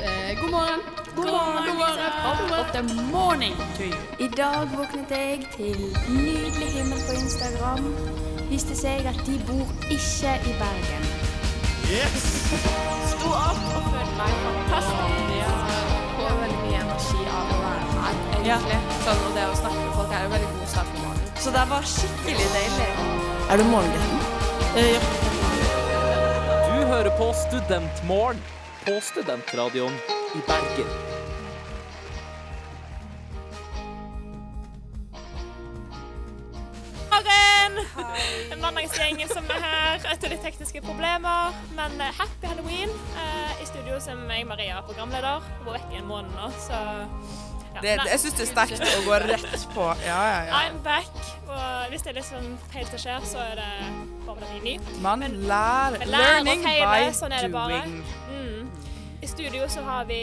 Eh, god morgen. God morgen. God morgen. Up the morning to you. I dag våknet jeg til nydelig himmel på Instagram. Viste seg at de bor ikke i Bergen. Sto opp og følte meg fantastisk. Ja. Får veldig mye energi av å være her, egentlig. Sånn, og det å snakke med folk er en veldig god start på morgenen. Så det var skikkelig deilig. Er du morgengutten? Du hører på Studentmorgen på Studentradioen i Bergen. morgen! Mandagsgjengen som er her etter litt tekniske problemer. Men eh, happy halloween eh, i studio som jeg, Maria, er programleder. Hun var vekk i en måned nå, så ja. Det, Nei, jeg syns det er sterkt å gå rett på. Ja, ja, ja. I'm back. Og hvis det er litt sånn feil som skjer, så er det bare fordi jeg er ny. Man lærer Men lær learning og feile, by sånn er det bare. doing. Mm. I studio så har vi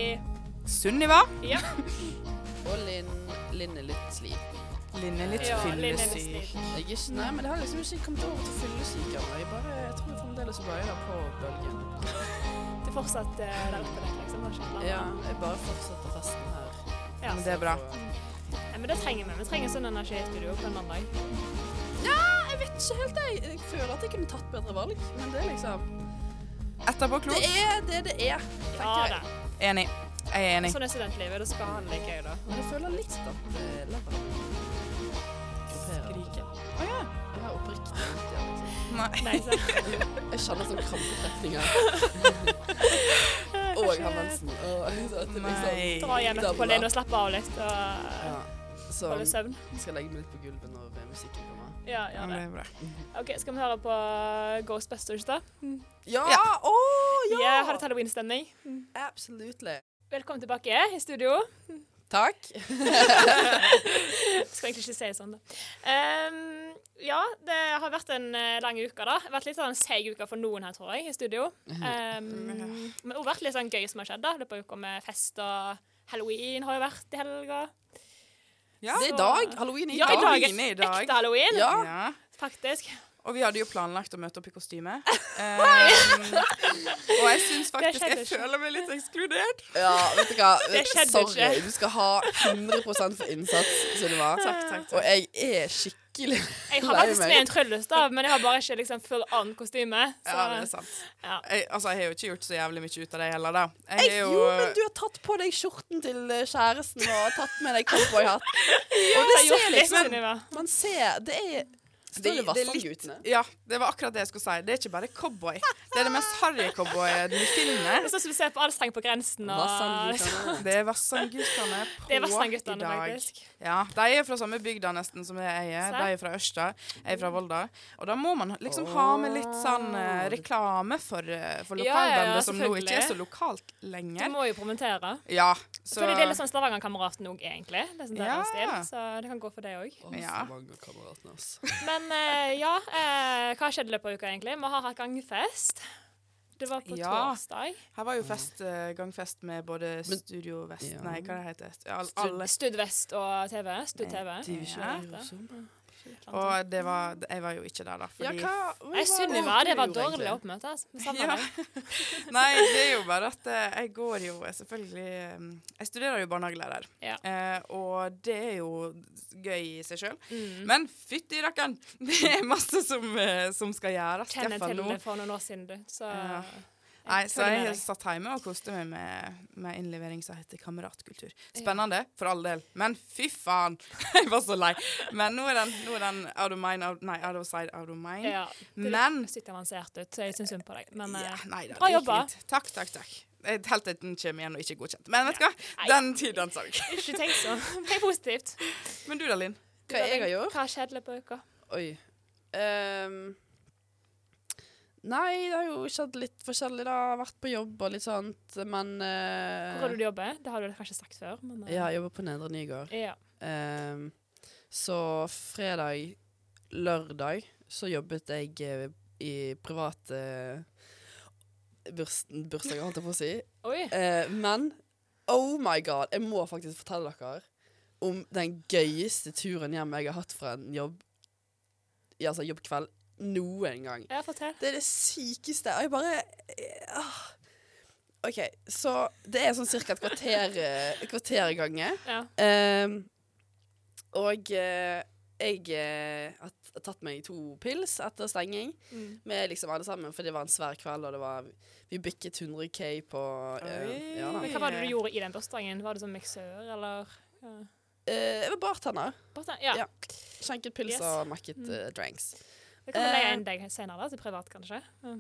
Sunniva. ja, Og Linn Linn er litt sliten. Linne litt ja, Linn er litt fyllesyk. sliten. Jeg er ikke, nei, men det har liksom ikke kommet over til fyllesyke ennå. Jeg, bare- jeg tror jeg fremdeles røyer på bølgen. Du er fortsatt eh, der oppe, der, liksom. har ikke Ja, jeg bare fortsetter festen her. Ja. Men det er bra. Ja, men det trenger vi. Vi trenger sånn energi i studio på en mandag. Jeg vet ikke helt, jeg. Jeg føler at jeg kunne tatt bedre valg, men det er liksom Etterpå Det klok. er det det er, Ja tenker da. jeg. Enig. Jeg er enig. Sånn er studentlivet. Da skal han like gøy, da. Men jeg føler litt at eh, labben Skriker. Å ja. Jeg har oppriktig vondt i hjernen, liksom. Nei. Nei, så. Jeg kjenner sånn krampetrekninger. Og jeg har mensen. Og, så at det liksom, Nei. Dra hjem etterpå, Linn, og slappe av litt. Og ja. Så holde søvn. jeg skal legge meg litt på gulvet når eh, musikken kommer. Ja, Ja, gjør men det. det er bra. OK, skal vi høre på Ghostbusters, da? Ja! Ja. Å, ja! Ja, har litt halloween-stemning. Absolutely. Velkommen tilbake i studio. Takk. Skal egentlig ikke si det sånn, da. Ehm, ja, det har vært en eh, lang uke, da. Det har Vært litt sånn seig uke for noen her, tror jeg, i studio. Mhm. Ehm, men det har vært litt sånn gøy som har skjedd, da. I løpet av uka med fest og halloween har jo vært i helga. Ja. Det er i dag. Halloween er i Ja, i dag. dag Halloween er i er dag. ekte halloween, Ja. Ja. faktisk. Og vi hadde jo planlagt å møte opp i kostyme. Um, og jeg syns faktisk skjedde Jeg ikke. føler meg litt ekskludert. Ja, vet du hva. Det skjedde Sorry. ikke. Du skal ha 100 for innsats, Sunniva. Takk, takk, takk. Og jeg er skikkelig Jeg har faktisk med en tryllestav, men jeg har bare ikke liksom full on kostyme. Så, Ja, det er sant. Sånn. ja. Jeg, altså, jeg har jo ikke gjort så jævlig mye ut av det heller, da. Jeg er Jo, men du har tatt på deg skjorten til eh, kjæresten og tatt med deg cowboyhatt. Og det Jeg har gjort ser litt, liksom Sunniva. Man ser Det er Står det, det er litt- Vassandgutene? Ja, det var akkurat det jeg skulle si. Det er ikke bare cowboy. Det er det mest harry cowboyen i filmen. Det er sånn som du ser på Allsang på grensen. Og, Vassandgutene. Det er Vassandguttene på det er Vestlandguttene, i dag. faktisk. Ja, De er fra samme bygda nesten som jeg er. Se. De er fra Ørsta, jeg er fra Volda. Og da må man liksom ha med litt sånn eh, reklame for, eh, for Ja, ja, ja, lokalbandet, som nå selvfølgelig. ikke er så lokalt Du lenger. må jo promotere. Ja, så Fordi det er litt sånn Stavanger-kameraten òg, egentlig. Det er sånn der Ja. en stil, så det kan gå for det òg. Å, Ja. Stavanger-kameratene, ass. Men eh, ja, eh, hva skjedde i løpet av uka, egentlig? Vi har hatt gangfest. Det var på Ja. torsdag. Her var jo fest, eh, gangfest med både Men- Studio Vest Ja. Nei, hva det heter det? Al- Alle. Stud Vest og TV. Stud TV. Ja. det heter. Og det var, jeg var jo ikke der, da. Ja, Fordi hva Nei, Sunniva, det var dårlig oppmøte. Altså. Vi savner Ja. deg. Nei, det er jo bare at eh, jeg går jo eh, selvfølgelig eh, Jeg studerer jo barnehagelærer, Ja. eh, og det er jo gøy i seg sjøl. Mm. Men fytti rakkeren, det er masse som, eh, som skal gjøres. kjenner iallfall til nå. det for noen år siden, du. Så Ja. jeg Nei, så følger jeg med har deg. satt hjemme og koste meg med, med innlevering som heter Kameratkultur. Spennende, for all del, men fy faen! Jeg var så lei. Men nå er den, nå er den out of mine, out, nei, out of sight, out of mine. ja, det Men er litt avansert ut, så jeg syns synd på deg. Men ja, eh, nei bra da, det gikk jobba. fint. Takk, takk, takk. Eh, Helt til den kommer igjen og ikke er godkjent. Men vet du hva? Nei. Den tid, den sorg. ikke tenk sånn. Tenk positivt. Men du da, Linn? Hva jeg har gjort? Hva skjedde på uka? Oi. Ehm, nei, det har jo skjedd litt forskjellig, da. Vært på jobb og litt sånt, men eh, Hvor er det du jobber? Det har du kanskje sagt før, men eh, Ja, jeg jobber på Nedre Nygård. ja. Ehm, så fredag, lørdag, så jobbet jeg eh, i private burs, bursdager, holdt jeg på å si. Oi. Eh, men oh my god, jeg må faktisk fortelle dere om den gøyeste turen hjem jeg har hatt fra en jobb ja, altså jobbkveld noen gang. Ja, fortell. Det er det sykeste. Og jeg bare eh, ah. OK, så det er sånn ca. et kvarter, eh, kvarter i gangen. Ja. Ehm, og eh, jeg eh, har t- tatt meg to pils etter stenging Mm. med liksom alle sammen, for det var en svær kveld, og det var Vi bikket 100 K på eh, Oi. ja, da. Men hva var det du gjorde i den bursdagen? Var det sånn miksør, eller ja. Eh, jeg var bartender. Bursdag? Ja. Ja. Skjenket pils Yes. Mm. og makket eh, drinks. Vi kan Eh. leie inn deg senere, da, til privat, kanskje. Ja.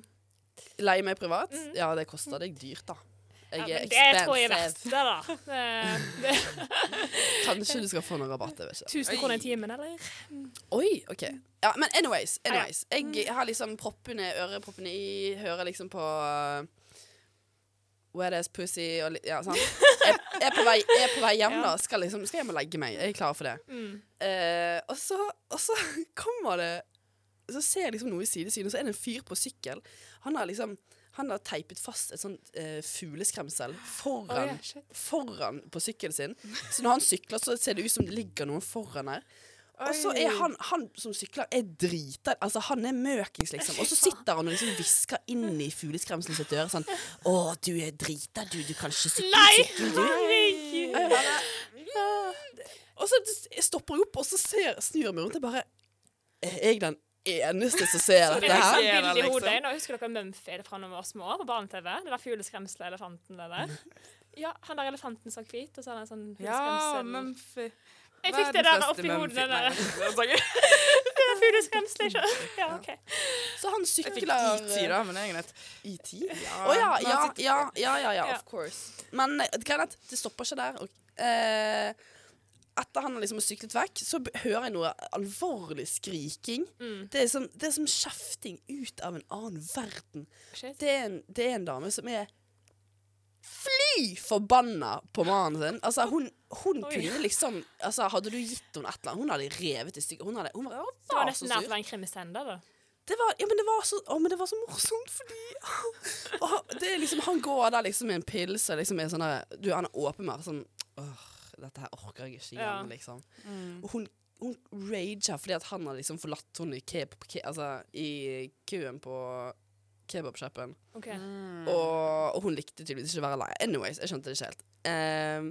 Leie meg privat? Mhm. Ja, det koster deg dyrt, da. Ja, Jeg er men det tror jeg er verdt expensive. det, da. Eh, Det, det, Kanskje du skal få noen rabatt. Jeg vet ikke. 1000 kroner i timen, eller? Oi, OK. Ja, men anyways. ja. Mm. anyways. Jeg har liksom proppene, øreproppene i, hører liksom på uh, Wet ass pussy og litt Ja, sant? Jeg, jeg, er på vei, jeg er på vei hjem, Ja. da. Skal liksom skal hjem og legge meg. Jeg er klar for det. Mm. Eh, og, så, og så kommer det Så ser jeg liksom noe i sidesynet, og så er det en fyr på sykkel. Han har liksom han har teipet fast et sånt eh, fugleskremsel foran, Oi, shit. foran på sykkelen sin. Så når han sykler, så ser det ut som det ligger noen foran her. Og så er han, han som sykler, er drita. Altså, han er møkings, liksom. Og så sitter han og liksom hvisker inn i fugleskremselet sitt øre sånn Å, du er drita, du. Du kan ikke sykle. Nei, sykkel, du. herregud! Og jeg bare, Og så jeg stopper jeg opp, og så ser, snur jeg meg rundt. Jeg bare Er jeg den eneste som ser Det dette er her? liksom Her? bilde i hodet. Liksom. Nå husker dere Mumphy fra når vi var små på barne-TV? Det der fugleskremselet, elefanten det der. Ja, han der elefanten som var hvit, og så hadde han sånn Ja, fugleskremsel. Mumphy. jeg fikk det der oppi hodet, det der fugleskremselet. ikke? Ja, OK. Så han Jeg fikk sykler IT, da, men det er greit. IT? Å ja, men ja, han sitter- ja, ja, ja, ja, Ja. of course. Men eh, det, kan at det stopper ikke der. Og, eh, etter han har liksom syklet vekk, så b- hører jeg noe alvorlig skriking. Mm. Det, er som, det er som kjefting ut av en annen verden. Shit. Det er en, det er en dame som er fly forbanna på mannen sin. Altså, hun, hun Oi. kunne liksom altså, Hadde du gitt henne et eller annet Hun hadde revet i stykker. Hun, hadde, hun var, hun Det var var så nesten sur. nært å være en krimsender, da. Det var, ja, men det var så, å, men det var så morsomt, fordi og, han- det er liksom, Han går der liksom med en pils og liksom er sånn der Du, han er åpenbart sånn Åh, dette her orker jeg ikke Ja. Mm. igjen, liksom. Og hun, hun rager fordi at han har liksom forlatt henne i, keb, ke, altså, i køen på kebabsjappen. OK. Mm. Og, og hun likte tydeligvis ikke å være lei. Anyways, jeg skjønte det ikke helt. Ehm,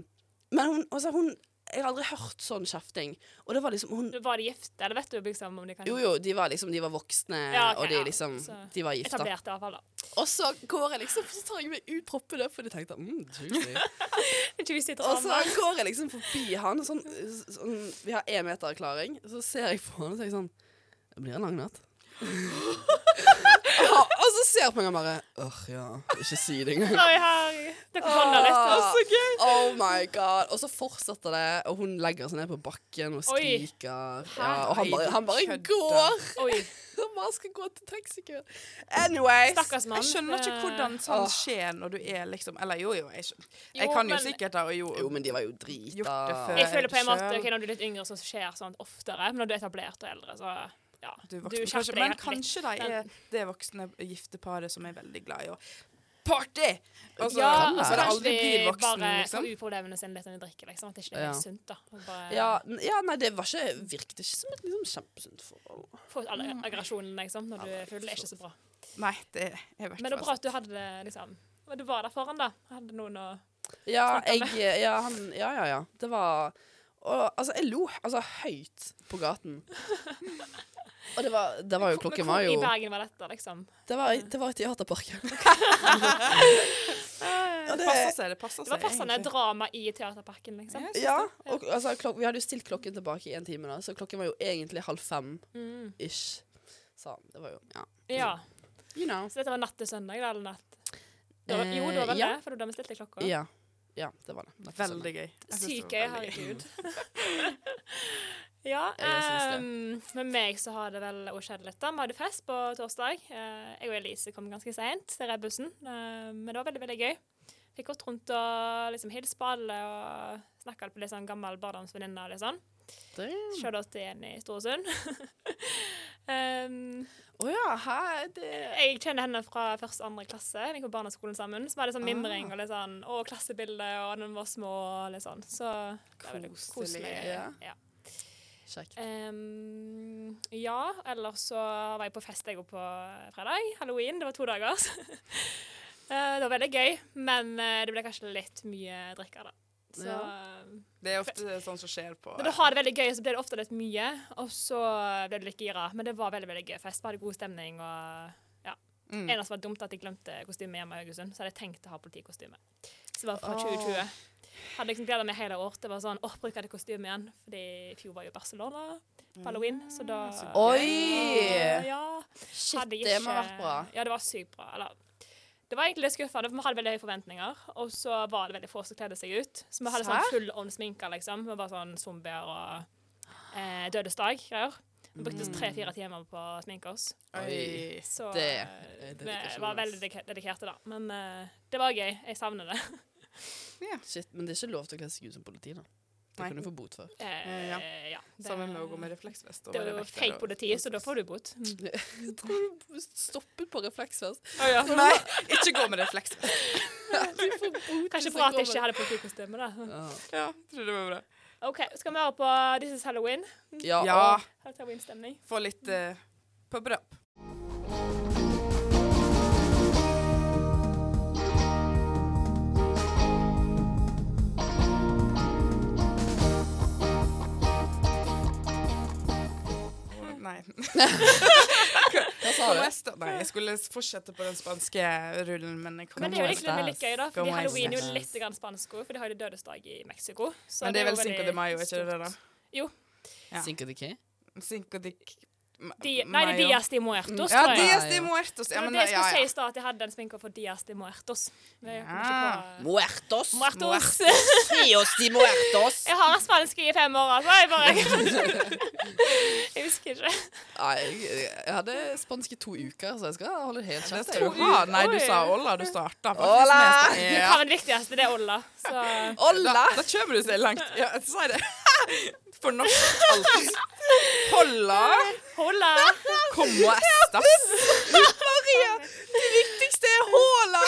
men hun, altså, hun Jeg har aldri hørt sånn kjefting. Og det var liksom hun, Var de gifte, eller vet du liksom om de kan Jo, jo, de var liksom De var voksne, Ja, ok, og de ja. liksom Så- De var gifta. Etablerte, iallfall. Og så går jeg liksom Så tar jeg meg ut proppene, for jeg tenkte mm, juicy. Juicy Og så drama. går jeg liksom forbi han, sånn, sånn Vi har én meter erklæring. Så ser jeg på han og tenker sånn Det blir en lang natt. ja, og så ser jeg på meg og bare Åh, ja. Ikke si det engang. Oi, herregud. Dere forhandler rett og slett. Oh my god. Og så fortsetter det, og hun legger seg ned på bakken og Oi. skriker. Ja, Her- og han bare, han bare Kødder. går. Oi, Han bare skal gå til taxikøen. Anyways. stakkars mann. eh, Jeg skjønner ikke Det- hvordan sånn Åh. skjer når du er liksom Eller jo, jo, jeg, skjønner. jeg Jo, kan jo men- sikkert det, og jo, Jo, men de var jo Gjort det før. drita. Eh, Jeg føler på en måte Selv. ok, Når du er litt yngre, så skjer sånt oftere. Men når du er etablert og eldre, så ja. du du er voksen. skjerper kanskje, deg Men litt. kanskje de Men- er det voksne gifte paret som er veldig glad i å Party! Altså, ja, kan altså, så det kanskje aldri blir de voksen, bare liksom. får uproblemene sine litt når de drikker. Liksom, at det ikke er Ja. helt sunt. da Og bare Ja, n- ja, nei, det var ikke, virket ikke som et liksom, kjempesunt forhold. Få ut alle Mm. aggresjonene liksom, når du er full. Det er ikke så bra. Nei, det er i hvert Men det er fall bra at du hadde det, liksom og Du var der foran, da. Hadde noen å Ja, jeg, eh, ja, han, ja, ja, ja. Det var og, Altså, jeg lo altså, høyt på gaten. Og det var, det var jo Men Klokken hvor var jo i Bergen var dette, liksom? Det var, i- det var i Teaterparken. Og Det det- passer seg, det passer Det seg. var passende egentlig. drama i Teaterparken, liksom. Altså, Ja, og, altså, klok, vi hadde jo stilt klokken tilbake i en time, da, så klokken var jo egentlig halv fem-ish. Mm. Så det var jo Ja. Ja. You know. Så dette var natt til søndag, da? Eller natt? Da, var- jo, Eh, det var vel ja. det, for da bestilte jeg klokka. Ja. ja, det var det. Veldig gøy. Jeg synes det Sykt var gøy, veldig gøy. herregud. ja, jeg syns det. ehm, med meg så har det vel også skjedd litt. da. Vi hadde fest på torsdag. Eh, jeg og Elise kom ganske seint til Rebussen, eh, men det var veldig veldig gøy. Fikk gått rundt og liksom hilst på alle og snakka på litt sånn gammel barndomsvenninne og litt sånn. Mm. Damn. Shout-out til Jenny Storesund. um, Å ja, hæ? Det Eh, jeg kjenner henne fra første og andre klasse. Vi gikk på barneskolen sammen. Så var det sånn mimring og litt sånn Å, klassebilde, og når vi var små og litt sånn. Så det var veldig Koselig. koselig. Ja. Ja. Kjekt. Ehm, ja, eh, ellers så var jeg på fest jeg òg på fredag. Halloween. Det var to dager. Eh, det var veldig gøy, men eh, det ble kanskje litt mye drikke, da. Så Det er ofte sånn som skjer på Når du har det veldig gøy, så blir det ofte litt mye, og så eh, blir du litt gira. Men det var veldig veldig gøy fest. Vi hadde god stemning. og ja. Mm. Mm. Eneste var dumt at jeg glemte kostyme hjemme i Haugesund, så hadde jeg tenkt å ha politikostyme. Så det var fra 2020. Hadde liksom gleda meg hele året til bare sånn, åh, bruker jeg det kostymet igjen. Fordi i fjor var jeg i Barcelona på halloween, så da Oi! Ja, Mm. Shit, hadde det må ha ikke- vært bra. Ja, det var sykt bra. Eller, det var egentlig litt skuffende, for vi hadde veldig høye forventninger. Og så var det veldig få som kledde seg ut. Så vi hadde sånn Serr? full on sminka, liksom. Vi var sånn zombier og eh, Dødes dag-greier. Vi Mm. brukte tre-fire timer på å sminke oss. Oi. Så Det er eh, vi dedikasjon, var ass. veldig dedike- dedikerte, da. Men eh, det var gøy. Jeg savner det. Shit, men det er ikke lov til å kle seg ut som politi, da. Det Nei. kan du få bot for. Eh, ja. ja, det- Sammen med å gå med refleksvest. og Det er være jo vekter fake og- politi, så da får du bot. Mm. Stoppet på refleksvest. Å ja. Nei, ikke gå med refleksvest. Kanskje bra at jeg ikke hadde politikostyme, da. Ja, tror det var bra. OK, skal vi høre på This is Halloween? Ja, Ja, og- Har det Halloween-stemning? få litt uh, pubber opp. Nei. hva sa På du? West- Nei, jeg skulle fortsette på den spanske rullen, men jeg kom Men det er jo liksom egentlig litt gøy, da, Go fordi my halloween er jo stars. litt grann spansk også, for de har jo dødesdag i Mexico. Så Men det er vel jo Cinco de veldig Mayo, er ikke det det, stort. da? Ja. Cinco de Qué? Cinco de Ma- Di, nei, det er Mayo. Mm. Dias de Muertos, Ja, tror jeg. Dias de Muertos. Det Ja, var men, det jeg ja, skulle si ja. i stad, at jeg hadde en sminke for Dias de Muertos. Men jeg kom Ja. ikke på Muertos! Muertos. Dios de muertos! Jeg har spansk i fem år, altså. Jeg bare Jeg husker ikke. Nei, jeg, jeg hadde spansk i to uker, så jeg skal holde helt Det kjeft. skal jeg. du ha. Nei, du sa Oi. Olla. Du starta Olla! faktisk med Det ja. kan være det viktigste, det er Olla. Så Olla! Da, da kjøper du seg langt. Ja, si det. For norsk alt. Holla, Olla! kom og estas. Maria, det viktigste er håla.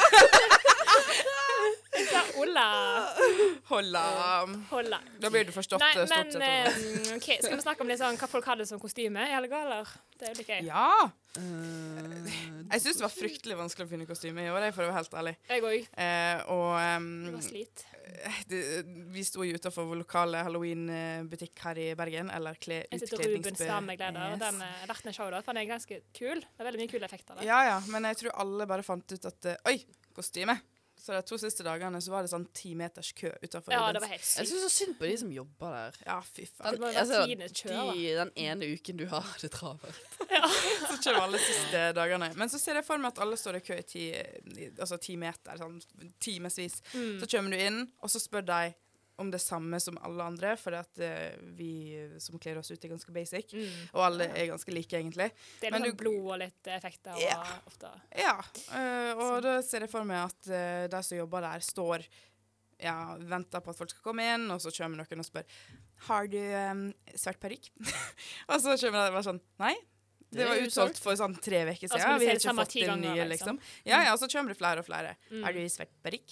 Jeg sa Olla. Holla. Olla. Da blir du forstått Nei, eh, men stort sett. Olla. eh, OK, skal vi snakke om litt sånn hva folk hadde som kostyme i helga, eller? Det er jo litt gøy. Ja. Eh, Jeg syns det var fryktelig vanskelig å finne kostyme i år, jeg, for å være helt ærlig. Jeg òg. Eh, og Det var ehm, slit. det, vi sto jo utenfor vår lokale halloween-butikk her i Bergen. Eller kle, Jeg sitter utkledningsbe- Rubens damegleder, og Yes. den eh, er verdt en showdown, for den er ganske kul. Det er veldig mye kule effekter der. Ja, ja, men jeg tror alle bare fant ut at eh, Oi, kostyme! Så de to siste dagene så var det sånn ti meters kø utenfor Ja, det Rubens. var helt Jeg sykt. syns så synd på de som jobber der. Ja, fy faen. Den, Det må jo være altså, tidenes kjør, de, den ene uken du har det travelt. Så kommer alle siste dagene. Men så ser jeg for meg at alle står i kø i ti, i- altså ti meter, sånn timevis. Mm, Så kommer du inn, og så spør de om det samme som alle andre, for at eh, vi som kler oss ut, er ganske basic. Mm. Og alle er ganske like, egentlig. Det er Men litt sånn du- blod og litt effekter og Ja. ofte Ja, øh, og da ser jeg for meg at øh, de som jobber der, står ja, venter på at folk skal komme inn, og så kommer noen og spør har du øhm, svart parykk. og så kommer de bare sånn Nei. Det Det er var utsolgt." utsolgt for sånn tre uker Og så siden. må du si Vi det har ikke samme fått ti inn ganger, nye, liksom. Mm. liksom. Ja, ja, og så kommer det flere og flere. Har du svart parykk?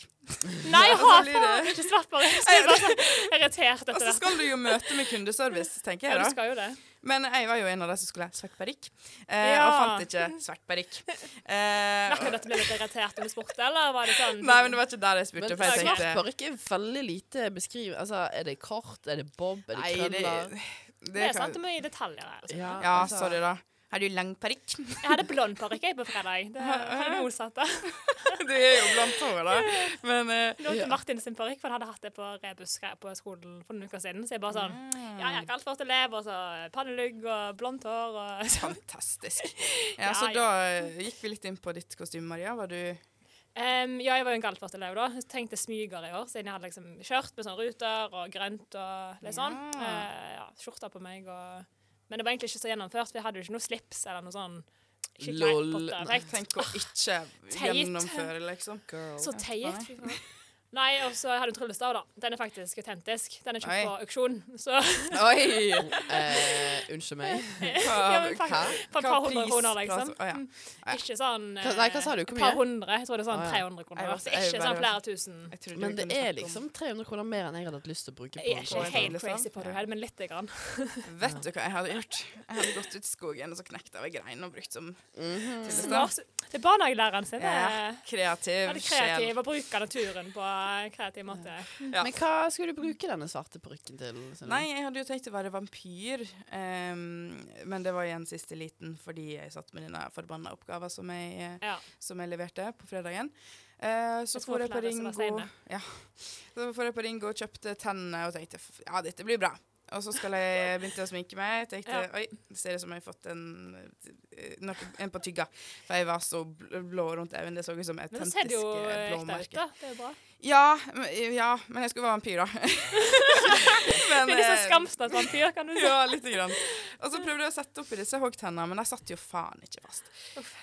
Nei, jeg Og så har blir altså, det- faen ikke svart på det! Jeg blir bare sånn irritert Og etter så hvert. skal du jo møte med kundeservice, tenker Ja, jeg du da. skal jo det. Men jeg var jo en av de som skulle ha svart parykk, eh, Ja. og fant ikke svart parykk. Eh, Merker du at du ble litt irritert om du spurte, eller var det sånn nei, men det var ikke der jeg Men spurte. for jeg svart tenkte... parykk er veldig lite beskriv... Altså, er det kort? Er det bob? Er det Nei, det, krøller? det, Det er kan- sant, du må gi detaljer her. Altså. Ja, sorry, da. Har du lang parykk? Jeg hadde blond parykk jeg, på fredag. Det var det motsatte. du er jo blant håret, da. Men eh, Lånte Ja. Martin sin parykk, for han hadde hatt det på rebus på skolen for noen uker siden. Så jeg bare sånn Mm. Ja, jeg har kaldført elev, og så pannelugg og blondt hår og sånn. fantastisk. Ja, Ja, så ja. da eh, gikk vi litt inn på ditt kostyme, Maria. Var du Em, ja, jeg var jo en galdført elev da. Jeg tenkte smyger i år, siden jeg hadde liksom skjørt med sånn ruter og grønt og litt sånn. Ja. Eh, ja, skjorta på meg og Men det var egentlig ikke så gjennomført, for jeg hadde jo ikke noe slips eller noe sånn skikkelig Harry Lol. Potter-effekt. Tenk å ikke Ah, teit. gjennomføre, liksom. Så teit. fy faen. Nei, og så hadde hun tryllestav, da. Den er faktisk autentisk. Den er Oi. kjøpt på auksjon. Så Oi! Eh, unnskyld meg. ja, men Hva? faktisk, for et par hundre kroner, liksom. Å, ja. Ikke sånn Hva- nei, hva sa du? Hvor Et par mye? hundre. Jeg tror det er Å, sånn ja. 300 Jeg kroner. var- Så jeg ikke var- sånn flere tusen. Jeg trodde Men det vi kunne er snakke om- liksom 300 kroner mer enn jeg hadde hatt lyst til å bruke på Jeg på er ikke en helt tryllestav. crazy på det her, men lite grann. Vet du hva jeg hadde gjort? Jeg hadde gått ut i skogen og så knekt av en grein og brukt som Mhm. Smart. tryllestav. Det er barnehagelæreren sin. Det Ja, er kreativ veldig sjel. kreativ å bruke naturen på en kreativ måte. Ja. Men hva skulle du bruke denne svarte parykken til? Silje? Nei, jeg hadde jo tenkt å være vampyr, ehm, men det var igjen siste liten fordi jeg satt med denne forbanna oppgaven som jeg, eh, Ja. som jeg leverte på fredagen. Eh, så Jeg tror for jeg på flere som var Ringo sene. ja. Så for jeg på Ringo og kjøpte tennene og tenkte "F- ja, dette blir bra. Og så skal jeg begynte å sminke meg. Jeg tenkte Ja. oi, det ser ut som jeg har fått en, eh, nok- en på tygga. For jeg var så bl- blå rundt øynene. Det så ut som Men det ser det autentiske jo ekte ut, blåmerker. da. Det er jo bra. Ja, men- ja, men jeg skulle være vampyr, da. men, Litt sånn eh, skamsnatt vampyr, kan du si. ja, lite grann. Og så prøvde jeg å sette opp i disse hoggtennene, men de satt jo faen ikke fast.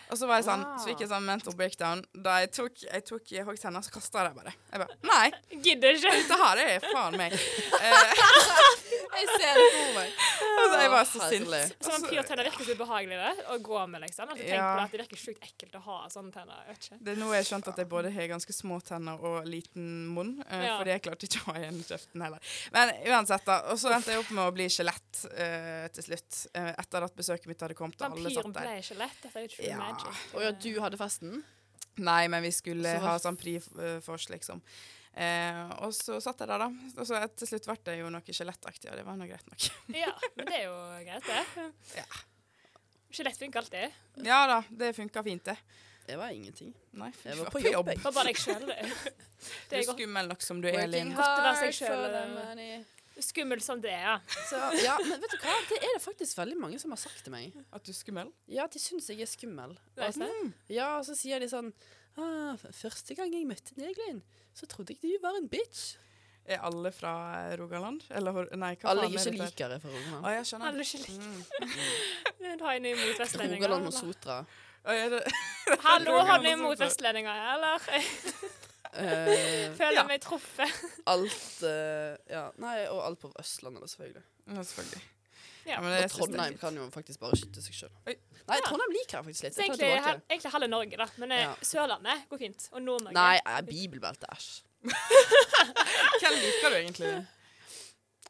Og så var jeg sånn, så fikk jeg sånn mental breakdown. Da jeg tok, jeg tok i hoggtennene, så kasta jeg dem bare. Jeg bare Nei, Gidder ikke. dette her er faen meg. Eh, Jeg ser det for meg. altså, jeg var så sint. Herlig. Så vampyrtenner virker så ubehagelig det, å gå med, liksom. At du tenker Ja. på det, at det virker sjukt ekkelt å ha sånne tenner. Jeg vet ikke. Det er nå jeg skjønte at jeg både har ganske små tenner og liten munn. eh, Ja. Fordi jeg klarte ikke å ha igjen kjeften heller. Men uansett, da. Og så endte jeg opp med å bli skjelett eh, til slutt. eh, etter at besøket mitt hadde kommet, og alle Vampyren satt der. ble ikke lett. Dette er jo true Ja. magic. Å ja, du hadde festen? Nei, men vi skulle Så- ha sånn prifors, liksom. Eh, og så satt jeg der, da. Og så et- til slutt ble det jo noe skjelettaktig, og det var nå greit nok. Ja, men det er jo greit, det. Ja. Skjelett funker alltid. Ja da, det funka fint, det. Det var ingenting. Nei, fy Jeg var faen, på jobb, Det var bare deg sjøl, det. Du Det er er godt. skummel nok som du er, Linn. å være seg hard selv, for the eh, money. Skummelt som det er. Så, ja, men vet du hva? Det er det faktisk veldig mange som har sagt til meg. At du er skummel? Ja, de syns jeg er skummel. Og Vet du? sånn- ja, og så sier de sånn ah, f- Første gang jeg møtte deg, Linn, så trodde jeg du var en bitch. Er alle fra eh, Rogaland? Eller hor- nei, hva Alle faen jeg er ikke det der? liker, er fra Rogaland. Å, jeg skjønner. Alle skjelett. Mm. Du har noe imot vestlendinger? Rogaland og eller? Sotra. Å, er det, Hallo, har du Rogaland og imot Sotra. vestlendinger, eller? Jeg Eh, føler Ja. meg truffet. alt eh, Ja, nei, og alt på Østlandet, da, selvfølgelig. ja, selvfølgelig. Ja. men Og jeg synes det er Trondheim fint. kan jo faktisk bare skyte seg sjøl. Oi. Nei, Trondheim liker jeg faktisk litt. Så Jeg tar egentlig, det hel- tilbake. egentlig halve Norge, da. Men eh, Ja. Sørlandet går fint. Og Nord-Norge. Nei, eh, bibelbelte, æsj. Hvem liker du egentlig?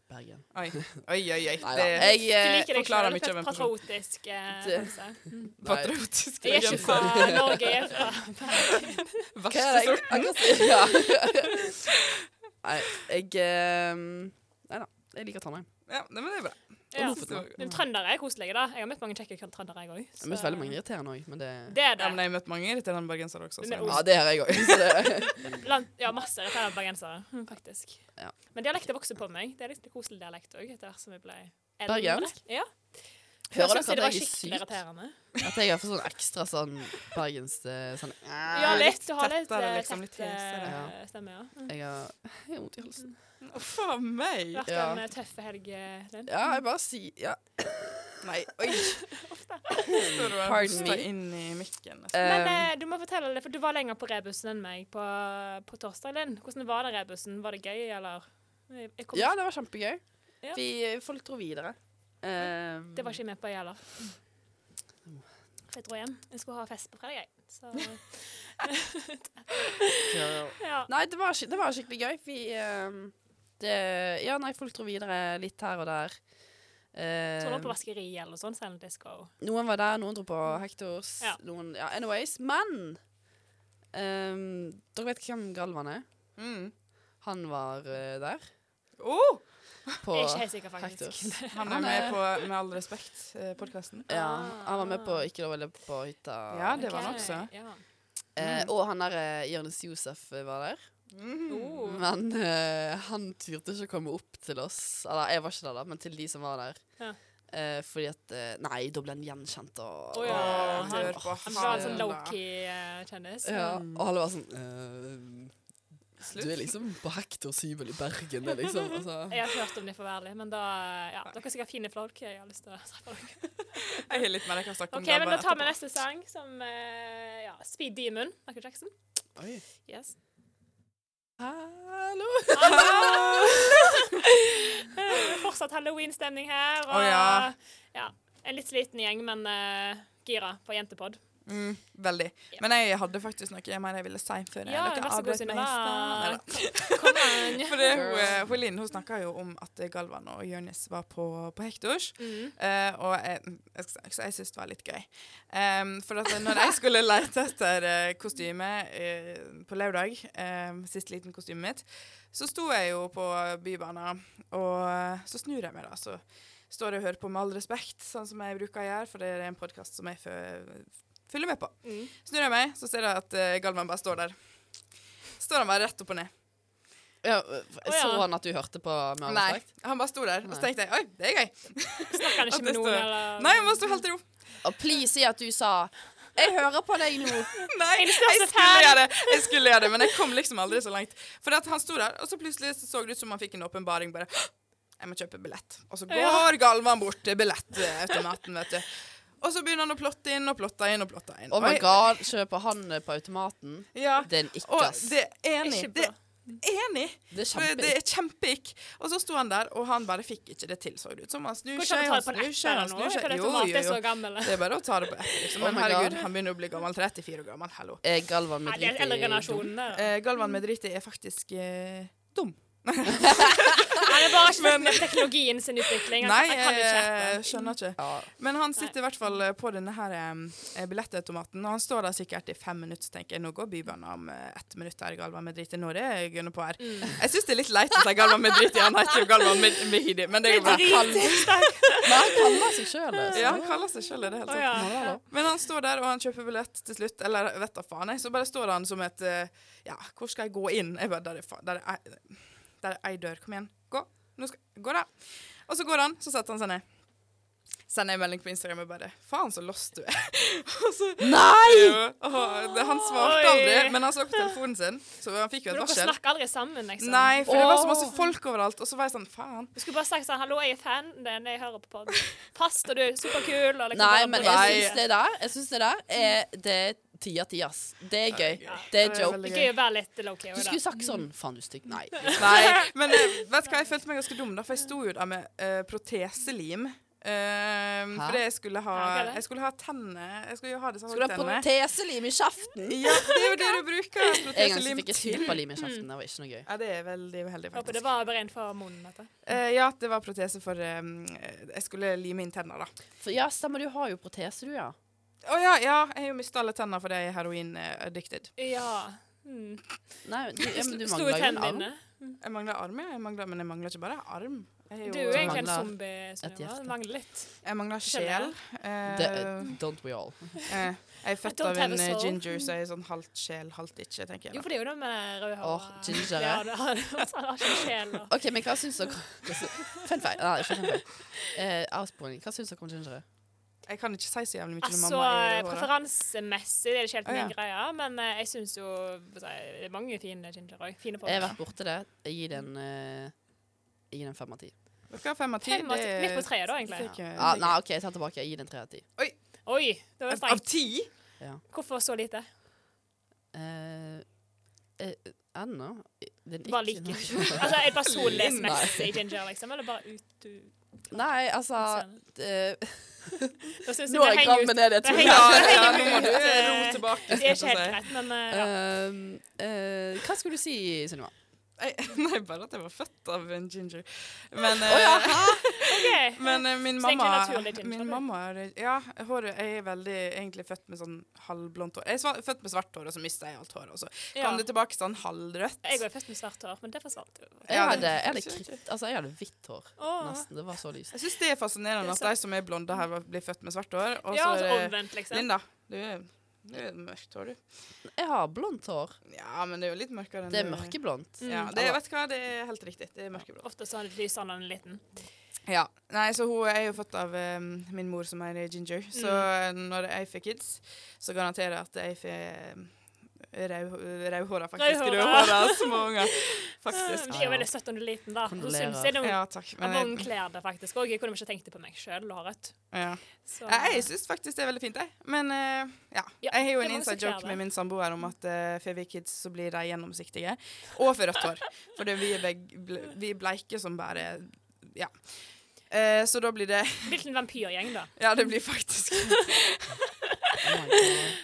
Bergen. Oi, oi, oi. oi. Nei da. Det er Jeg, Du eh, liker deg forklarer selv, mye det er om en et patriotisk eh, Det- følelse. nei. patriotisk. Jeg er ikke fra Norge, jeg er fra sånn. Hva er det jeg akkurat sier? Ja. Nei, jeg eh, Nei da. Jeg liker Trondheim. Ja, nei, men det er bra. ja. Og Lofoten. også. Men trøndere er koselige, da. Jeg har møtt mange kjekke trøndere, jeg òg. Jeg har møtt veldig mange irriterende òg, men det Det er Ja, men det. jeg har møtt mange irriterende bergensere også. Men det er Så. Ja, det har jeg òg. Blant, ja, masse irriterende bergensere, mm, faktisk. Ja. Men dialekter vokser på meg. Det er litt koselig dialekt òg, etter hvert som jeg ble eldre. Bergensk? Ja. Hører Først syntes dere at jeg det var jeg er skikkelig syk? irriterende? At jeg har fått sånn ekstra sånn bergens eh, sånn Ja, litt. Du har litt tettere, eh, liksom, litt tett eh, hesere. stemme, ja. Mm. Jeg har jeg har vondt i halsen. Å, faen meg! Vært Ja. en eh, tøff helg, eh, Linn. Ja, jeg bare sier Ja. Nei, oi. Står og Pardon me. hoster inn i mikken. nesten. Men Eh, eh, du må fortelle det, for du var lenger på rebusen enn meg på, på torsdag, Linn. Hvordan var det rebusen? Var det gøy, eller? Jeg jeg kom, ja, det var kjempegøy. Ja. Vi, folk dro videre. Eh, Det var ikke jeg med på, jeg heller. Jeg dro hjem. Jeg skulle ha fest på fredag, jeg. Så girl. ja. Nei, det var, skik- det var skikkelig gøy. Vi eh, det, Ja, nei, folk dro videre litt her og der. Eh, Så nå på vaskeri eller sånn, Silent Disco. noen var der, noen dro på Hectors. Ja. Noen, ja, anyways. Men eh, Dere vet hvem Galvan er? Mm. Han var eh, der. Oh, På Jeg er ikke helt sikker, faktisk. Hectors. han er Han med er- på Med all eh, respekt-podkasten. Ja, han var med på Ikke lov å leve på hytta. Ja, det var Ok, han Mm. også. Ja. Eh, og han der eh, Jonis Josef eh, var der. Mm. Oh. Men eh, han turte ikke å komme opp til oss. Eller jeg var ikke der, da, men til de som var der. Ja. Eh, fordi at eh, Nei, da ble han gjenkjent og Å, ja. og- Han- Dør på Han var en sånn eh, halen, da. lowkey-kjendis. Ja, og alle var sånn eh, Du er liksom på Hektors hybel i Bergen, det, liksom. Altså. Jeg har ikke hørt om dem, for å være ærlig, men da ja, Dere er sikkert fine folk. Jeg har lyst til å treffe dere. Jeg har litt mer jeg kan snakke om. OK, det men bare da tar vi etterpå. neste sang, som eh, ja, Speed Demon. Michael Jackson. Oi. Yes. Her Ah! fortsatt halloween-stemning her. Og, Å, ja. ja, En litt sliten gjeng, men eh, gira på jentepod. Mm, veldig. Men jeg hadde faktisk noe mer jeg ville si før Ja, vær så dere god, avbrøt meg i stad. Synnøve. Kom an. For det, hun, eh, hun Linn hun snakka jo om at Galvan og Jonis var på, på Hektors. Eh, og jeg, jeg, skal si- jeg syns det var litt gøy. Em, for at når jeg skulle lete etter eh, kostyme eh, på lørdag, um, sist liten kostymet mitt, så sto jeg jo på Bybanen, og eh, så snur jeg meg, da. Så står jeg og hører på med all respekt, sånn som jeg bruker å gjøre, for det er en podkast som jeg fø- følger med på. Snur jeg meg, så ser jeg at eh, Galvan bare står der. Står han bare rett opp og ned. Ja, eh, så ja. han at du hørte på med all Nei, respekt? han bare sto der. Og så tenkte jeg oi, det er gøy. Snakker han ikke At det med noen, står- eller? Nei, han bare sto helt i ro. Og please si at du sa 'Jeg hører på deg nå'. Nei, jeg største skulle gjøre det, jeg skulle gjøre det, men jeg kom liksom aldri så langt. For at han sto der, og så plutselig så, så det ut som han fikk en åpenbaring. Bare jeg må kjøpe billett. Og så går Galvan bort til billettautomaten, vet du. Og så begynner han å plotte inn og plotte inn og plotte inn. Oh my Og jeg- god, kjøper han eh, på automaten? Ja. Det er en ikke, Og ass. det er enig. Ikke Det bra. er enig. Det er For Det kjempe... er kjempeikk. Og så sto han der, og han bare fikk ikke det til, så det ut som. Han snur Går ikke seg, an å han ta det på en snur app seg, han eller noe? snur seg. Hva er det Jo, automat jo, er så jo. gammel? Det er bare å ta det på ett. Liksom. Oh Men my herregud, God. han begynner å bli gammel. 34 år gammel, hallo. Er Eh, Galvan Nei, med det er- drit Eller i generasjonene. da. Eh, Galvan med dritt i er faktisk eh, dum. Han er bare ikke fått med teknologien sin utvikling. Han, Nei, eh, han kan ikke jeg dette. skjønner ikke. Ja. Men han sitter i hvert fall eh, på denne her eh, billettautomaten, og han står der sikkert i fem minutter, så tenker jeg. Nå går Bybanen om eh, ett minutt her, Galvan med dritt i. Når er jeg gønner på her? Jeg syns det er litt leit at det er Galvan med dritt i, han heter jo Galvan med, med hidi, men det er jo bare Men han kaller seg sjøl det. så- Ja, han kaller seg sjøl det, det er helt Å, sant. ja. Men han står der, og han kjøper billett til slutt. Eller vet da faen, jeg. Så bare står han som et eh, Ja, hvor skal jeg gå inn? Jeg bare, der er, fa- der er, ei- der er ei dør. Kom igjen. Gå. Nå skal, gå, da. Og så går han, så setter han seg ned. Sender en melding på Instagram og bare 'Faen, så lost du er'. og så, Nei! Jo, og det- han svarte Oi. aldri, men han så på telefonen sin, så han fikk jo et Men Dere varsel. snakker aldri sammen, liksom. Nei, for det var så masse folk overalt, og så var jeg sånn 'Faen'. Du skulle bare sagt sånn 'Hallo, jeg er fan din. Jeg hører på podden. Pass, og liksom du er superkul.' Eller, Nei, men jeg Nei. syns det der Jeg synes det der er Det er ti av ti, ass. Det er gøy. Det er Det er joke. veldig Gøy å være litt low-key. Du også, da. skulle sagt sånn Faen, du er stygg. Nei. Nei, men eh, vet du hva, jeg følte meg ganske dum da, for jeg sto jo der med eh, proteselim. Eh, for jeg skulle ha, Hæ, hva er det? jeg skulle ha tennene Jeg skulle jo ha disse Skulle du ha holdtennene. proteselim i kjeften? Ja, det er jo det du bruker En gang så proteselim fikk jeg til. snipperlim i kjeften. Det var ikke noe gøy. Ja, det er veldig uheldig, Håper det faktisk. var bare en for munnen. Dette. Eh, ja, det var protese for eh, Jeg skulle lime inn tenner, da. For ja, stemmer, du har jo protese, du, ja. Å ja, ja, jeg har jo mista alle tenner fordi jeg er heroin-addicted. Ja. Mm. Nei, du, ja, men du mangler Sto i jo en tennene arm. dine. Jeg mangler arm, jeg mangler, men jeg mangler ikke bare arm. Jeg, er Du jo, er egentlig en mangler zombie. et hjerte. Sunniva. Du mangler litt. jeg mangler sjel. Skjønner Eh, Det, don't we all. eh, jeg er født Don't av have en a eh, soul. ginger, så jeg er sånn halvt sjel, halvt ikke, tenker jeg. da. Jo, for det er jo det med røde hår. Åh, ginger, Ja, ja. det har han har ikke en sjel. og- OK, men hva syns dere hva sy- Fun fact. Nei, ikke fun fact. Eh, avsporing. Hva syns dere om gingere? Jeg kan ikke si så jævlig mye til Altså, mamma. i håret. Preferansemessig det er det ikke helt Å, ja. min greie, men eh, jeg syns jo hva skal jeg si, Det er mange fine ginger òg. Fine folk. Jeg har vært borti det. Jeg gir den eh, Jeg gir den fem av ti. Dere har fem av ti. Fem av ti- det- Midt på treet, da, det er egentlig. ikke- Ah, nei, OK, jeg tar tilbake. Jeg gir den tre av ti. Oi, det var Av strengt. ti? Hvorfor så lite? Eh, eh, Ennå? Den Bare ikke- liker Altså, er det personlighetsmessig ginger, liksom? Eller bare ut du Nei, altså eh, Da syns jeg Nå er det jeg henger krammen ut. ned i et Det hull. henger, det Ja, henger nå må du ut. eh, ro tilbake. Det er ikke skal jeg helt si. greit, men eh, ja. Um, eh, hva skulle du si, Sunniva? Jeg- Nei, bare at jeg var født av en ginger. Men, eh, OK. men eh, min Så egentlig mamma naturlig ginger, Min eller? mamma er, Ja, håret Jeg er veldig egentlig født med sånn halvblondt hår. Jeg er sva- født med svart hår, og så mista jeg alt håret. Og så Ja. kom det tilbake sånn halvrødt. Jeg er født med svart hår, men det forsvant jo. Jeg Ja, det- hadde, jeg hadde, kritt, altså, jeg hadde hvitt hår. Åh. Nesten. Det var så lyst. Jeg syns det er fascinerende Det er at så- de som er blonde her, blir født med svart hår. Og Ja, så altså er det omvendt, liksom. Linda, du er, du er mørkt hår, du. Jeg har blondt hår. Ja, men det er jo litt mørkere enn Det er du- mørkeblondt. Mm. Ja, det, vet du hva, det er helt riktig. Det er mørkeblå. Ofte så er det lysere når den er liten. Ja. Nei, så hun er jo født av eh, min mor som er ginger, så eh, når jeg får kids, så garanterer jeg at jeg får rødhåra, faktisk. Rødhåra. Rødhåra små unger. Det Faktisk. Mm, er jo veldig søtt når du er liten, da. Så Kondolerer. syns jeg det Ja, takk. at Men noen kler det faktisk òg. Jeg kunne ikke tenkt det på meg sjøl, håret. ja. Så eh, Jeg, jeg syns faktisk det er veldig fint, jeg. Men eh, ja. Ja, Jeg har jo det en må inside sikkert joke være. med min samboer om at uh, får vi kids, så blir de gjennomsiktige. Og får rødt hår. For det, vi, er beg, ble, vi er bleike som bare ja. Eh, så da blir det Blitt en vampyrgjeng, da. Ja, det blir faktisk Oh my God.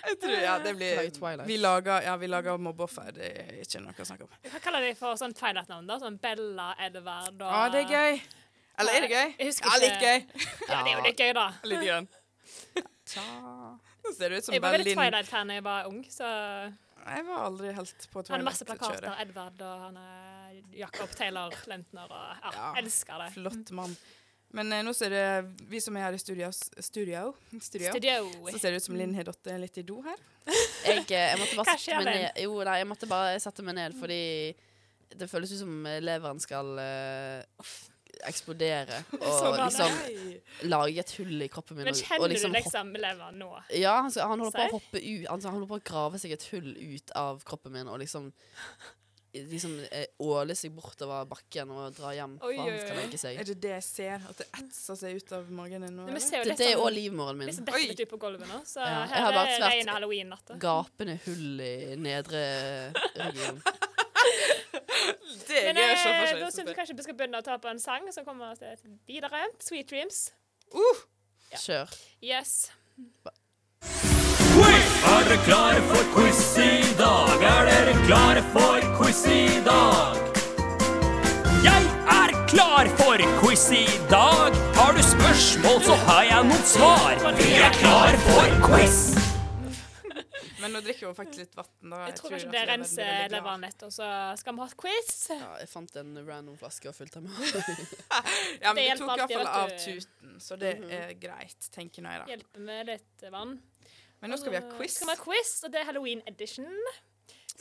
Jeg tror, ja, det Play blir Twilight. Vi lager, ja, vi lager mobbeoffer. Det er ikke noe å snakke om. Hva kaller de for sånn Twilight-navn? da? Sånn Bella, Edvard og Ja, det er gøy. Eller er det gøy? Jeg husker Ja, litt ikke. gøy. Ja, det er jo litt gøy, da. Litt grann. Nå ser du ut som Jeg var veldig Berlin. Twilight-fan da jeg var ung, så han Jeg var aldri helt på er masse plakater. Twilight-kjøret. Edvard og han er Jacob Taylor Lentner og ja, Ja. Elsker det. Flott mann. Men eh, nå ser det vi som er her i studio, studio, studio, så Studio. ser det ut som Linn har datt litt i do her. Jeg, eh, jeg måtte bare Hva sette skjer, meg ned Jo, nei, jeg måtte bare sette meg ned fordi det føles ut som eh, leveren skal eh, eksplodere og bra. liksom lage et hull i kroppen min. Men og- kjenner og liksom du hoppe- liksom leveren nå? Ja, han, skal, han holder på Serr? å hoppe ut altså, Han holder på å grave seg et hull ut av kroppen min og liksom Liksom eh, åle seg bortover bakken og dra hjem. Oi, for han skal oi, oi. legge seg. Er det det jeg ser? At det etser seg ut av magen din nå? Men Vi eller? ser jo litt Dette er òg sånn livmoren min. litt sånn detter litt ut på gulvet nå, så Ja, jeg her har er bare det svært- rene halloween-natta. Gapende hull i nedre region. Det Men gjør eh, så da for seg, så syns jeg det- kanskje vi skal begynne å ta på en sang som kommer oss til videre. Sweet Dreams. Ja. Kjør. Yes. Quiz! Er dere klare for quiz i dag? Er dere klare for quiz i dag? Jeg er klar for quiz i dag. Har du spørsmål, så har jeg noen svar. Vi er klar for quiz! Men nå drikker hun faktisk litt vann. da. Jeg tror kanskje at det leveren blir renser veldig glad. leveren litt, og så skal vi ha et quiz. Ja, jeg fant en random flaske og fylte den med. Ja, Det men det hjelper tok i alltid, hvert fall av vet du. Mhm. tuten, så det er greit, tenker nå jeg da. Hjelpe med litt vann. Men nå skal vi ha Og quiz. Skal vi ha quiz, og det er halloween edition.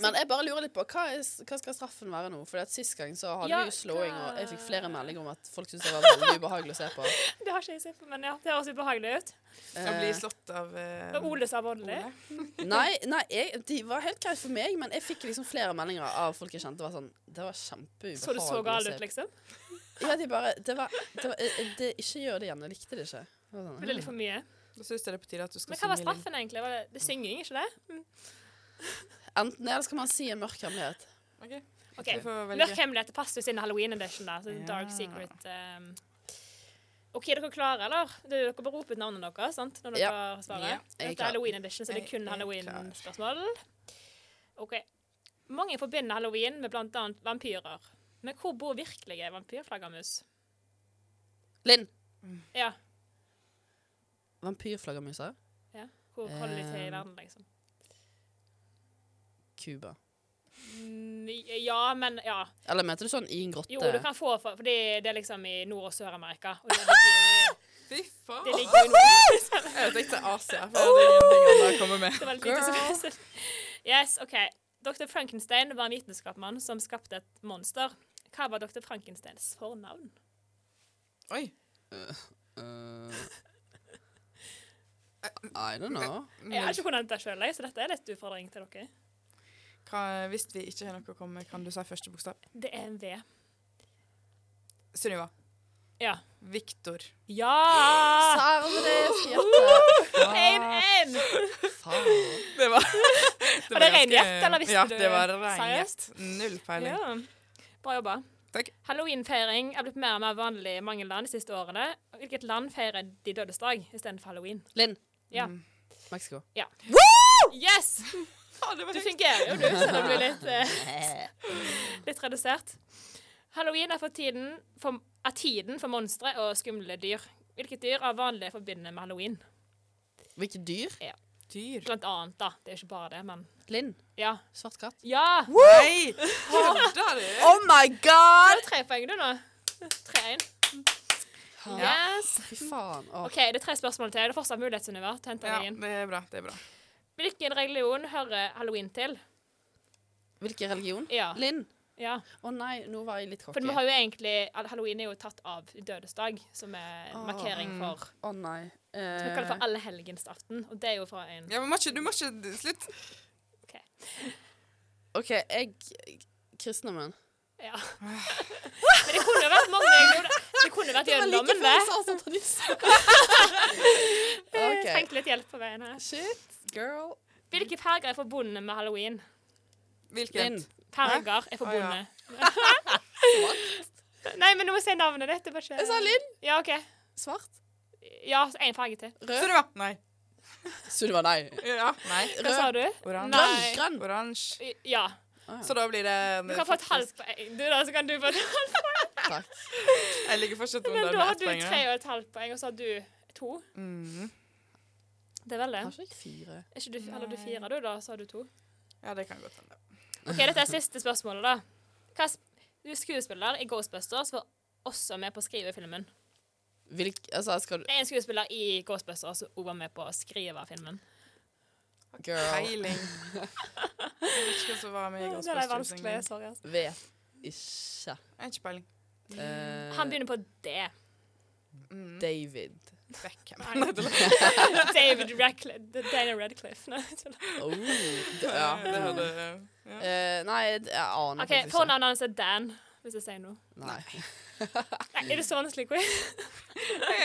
Men jeg bare lurer litt på hva, er, hva skal straffen være nå? For sist gang så hadde Ja, vi jo slåing, hva- og jeg fikk flere meldinger om at folk syntes det var veldig ubehagelig å se på. Det har ikke jeg sett på, men ja, det høres ubehagelig ut. Jeg blir slått av eh, Og Ole sa voldelig. Ole. Nei, nei jeg, de var helt greit for meg, men jeg fikk liksom flere meldinger av folk jeg kjente. Det var sånn, det var kjempeubehagelig. Så du så å gal se ut, på. liksom? Mm. Ja, de bare det var, det var, eh, eh, det, Ikke gjør det igjen. Jeg likte det ikke. Det var Ble det sånn, litt for mye? Da syns jeg det er på tide at du skal Men hva var synge litt. straffen, egentlig? Var det, det er synging, ikke det? Enten det, eller skal man si en mørk hemmelighet. Ok, OK. Du får velge. Mørk hemmelighet det passer jo siden halloween edition, da. Så det er Dark secret. Um. OK, er dere klare, eller? Det er jo Dere bør rope ut navnene deres sant? når dere svarer. Ja, jeg er Dette klar. er halloween edition, så det er Jeg kun er halloween-spørsmål. OK. Mange forbinder halloween med bl.a. vampyrer. Men hvor bor virkelige vampyrflaggermus? Linn. Ja. Vampyrflaggermuser. ja. Hvor holder de til i verden, liksom? Cuba. Mm, Ja, men ja. Eller mente du sånn i en grotte? Jo, du kan få for, Fordi det er liksom i Nord- og Sør-Amerika. Og det ligger, Fy faen! det ligger jo i nord. Jeg tenkte Asia. For det er ingenting annet å komme med. Det var litt lite som Yes, OK. Dr. Frankenstein var en vitenskapsmann som skapte et monster. Hva var dr. Frankensteins fornavn? Oi. I don't know. Jeg har ikke kunnet dette sjøl, så dette er litt utfordring til dere. Hva, hvis vi ikke har noe å komme med, kan du si første bokstav? Det er en V. Sunniva. Ja. Viktor. Ja! Sarvenes hjerte. 1-1! Faen. Det var Var det ganske- ren gjett, eller visste ja, du Ja, det var ren gjett. seriøst? Null peiling. Ja. Bra jobba. Takk. Halloweenfeiring er blitt mer og mer vanlig i mange land de siste årene. Hvilket land feirer de dødes dag istedenfor halloween? Linn. Mm. Ja. Mexico. Yes! Du fungerer jo, du, så det blir litt, eh, litt redusert. Halloween er for tiden for, er tiden for monstre og skumle dyr. Hvilket dyr er vanlig forbundet med halloween? Hvilke dyr? Dyr. Blant annet, da. Det er ikke bare det, men Linn. Ja! Svart katt. ja! Du Nei! Hadde du? Oh my god! har tre poeng, du, nå. Tre-én. Yes. Fy faen. Åh. OK, det er tre spørsmål til. Det er fortsatt mulighet, Sunniva. til å hente Ja, deg inn. det er bra. det er bra. Hvilken religion hører halloween til? Hvilken religion? Ja. Linn. ja. Å nei, nå var jeg litt For cocky. vi Å har jo egentlig all- Halloween er jo tatt av dødesdag, som er en markering for nei. Vi kaller det Eh. for allehelgensaften, og det er jo fra en Ja, men må ikke, du må ikke Slutt. OK, jeg Kristendommen. Ja. Men det kunne jo vært mange religioner. Det kunne vært jødedommen, det. Jeg Ah, OK. Trengte litt hjelp på veien her. Shit, girl. Hvilke farger er forbundet med halloween? Hvilket? Linn. Farger er forbundet. Nei, men du må si navnet ditt. det var ikke- Jeg sa Linn. Ja, OK. Svart. Ja, én farge til. Rød. Sunniva. Nei. Sunniva, nei. Ja. Nei. Hva sa du? Oransje. Nei. Grønn. Oransje. Ja. Så da blir det Du kan få et halvt poeng. Du, da, så kan du få et halvt Takk. Jeg ligger fortsatt Men da under har med ett du poeng. tre og et halvt poeng, og så har du to. da. Mm. Det er vel det. Har ikke jeg fire? Er ikke du, eller du fire, du, da, så har du to. Ja, det kan godt hende. Ok, Dette er siste spørsmålet, da. Hva sp du er skuespiller i Ghostbusters var også med på å skrive filmen. Hvilk, altså, skal du Det er en skuespiller i Ghostbusters som også var med på å skrive filmen. Girl. Peiling. Jeg vet ikke hva som var med i Det er Ghostbusters vanskelig. engang. Sorry. Altså. Vet ikke. Jeg har ikke peiling. Eh, Han begynner på D. Mm. David. Beckham. Nei. David Radcliffe. Dana Radcliffe. Nei, jeg tuller. Oh, d- ja. Ja, det hadde ja. Eh, nei, jeg aner OK, fornavnet hans er Dan, hvis jeg sier noe. Nei. Nei, er det så vanskelig quiz?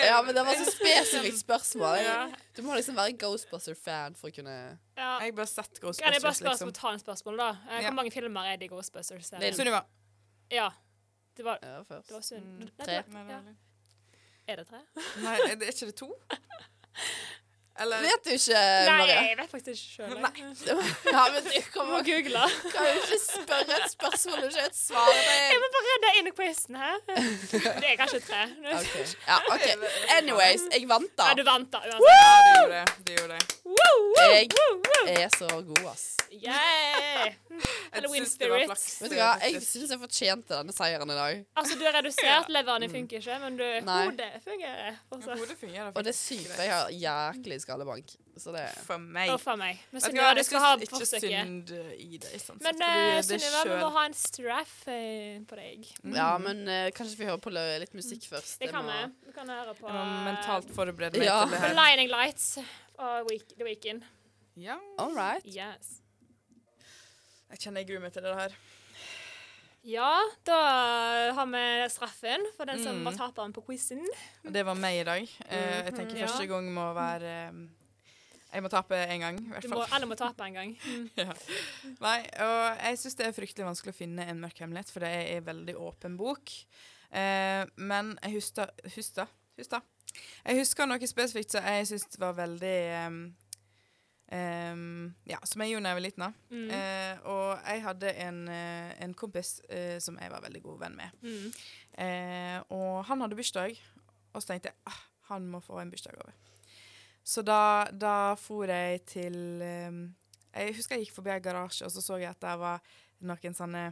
Ja, men det var så spesifikt spørsmål. Ja. Du må liksom være Ghostbuster-fan for å kunne Ja. Jeg bare sett Kan jeg bare Ghostbusters, spørre liksom. spontanspørsmål, da? Eh, Hvor Ja. mange filmer er det i Ghostbusters? Lille. Sunniva. Ja. Det var, Ja, eh, først. det var synd. Mm, Nei, det tre. var- Nei, det Ja. var litt- Er det tre? Nei, er det- er ikke det to? Eller Vet du ikke, Nei, Maria? jeg vet faktisk ikke sjøl. Ja, men du Du må kommer google. kan jo ikke spørre et spørsmål du ikke vet svaret Jeg på. må bare redde inn i quizen her. Det er kanskje tre. Nå- Okay. Ja, OK. Anyways, jeg vant, da. Ja, du vant, da. uansett. Ja, det gjorde det. det gjorde det. Jeg er så god, ass. Yeah! Halloween synes det var spirit. flaks, eh, Vet du hva, jeg faktisk. syns jeg fortjente denne seieren i dag. Altså, du er redusert, leveren din funker ikke, men du, Nei. hodet fungerer Ja, fortsatt. Hodet fungerer Og det er faktisk sykt, greit. jeg har jæklig skallebank. Så det For meg. Uff a meg. Men Vet du hva, Sunniva, du jeg skal ha syns ikke forsøket. synd i deg. Sånn Men sett, fordi eh, det Sunniva, vi selv- må ha en straff eh, på deg. Ja, men eh, kanskje vi hører på lø- litt musikk først. Mm. Det Jeg kan må- vi. Vi kan høre på Jeg må mentalt forberede meg Ja. til det på her. Lining Lights og week, The Weekend. Ja. All right. Yes. Jeg kjenner jeg gruer meg til det her. Ja, da har vi straffen for den som Mm. var taperen på quizen. Og Det var meg i dag. Eh, jeg tenker Mhm. første gang må være eh, Jeg må tape en gang, i hvert Du må, fall. alle må tape en gang. Nei, og jeg syns det er fryktelig vanskelig å finne en mørk hemmelighet, for det er en veldig åpen bok. Eh, men jeg husker Husker? husker. Jeg husker noe spesifikt som jeg syns var veldig eh, eh, Ja, som jeg gjorde da jeg var liten. da. Mm. Eh, og jeg hadde en, eh, en kompis eh, som jeg var veldig god venn med. Mm. Eh, og han hadde bursdag, og så tenkte jeg ah, han må få en bursdagsgave. Så da, da for jeg til eh, Jeg husker jeg gikk forbi en garasje, og så så jeg at der var noen sånne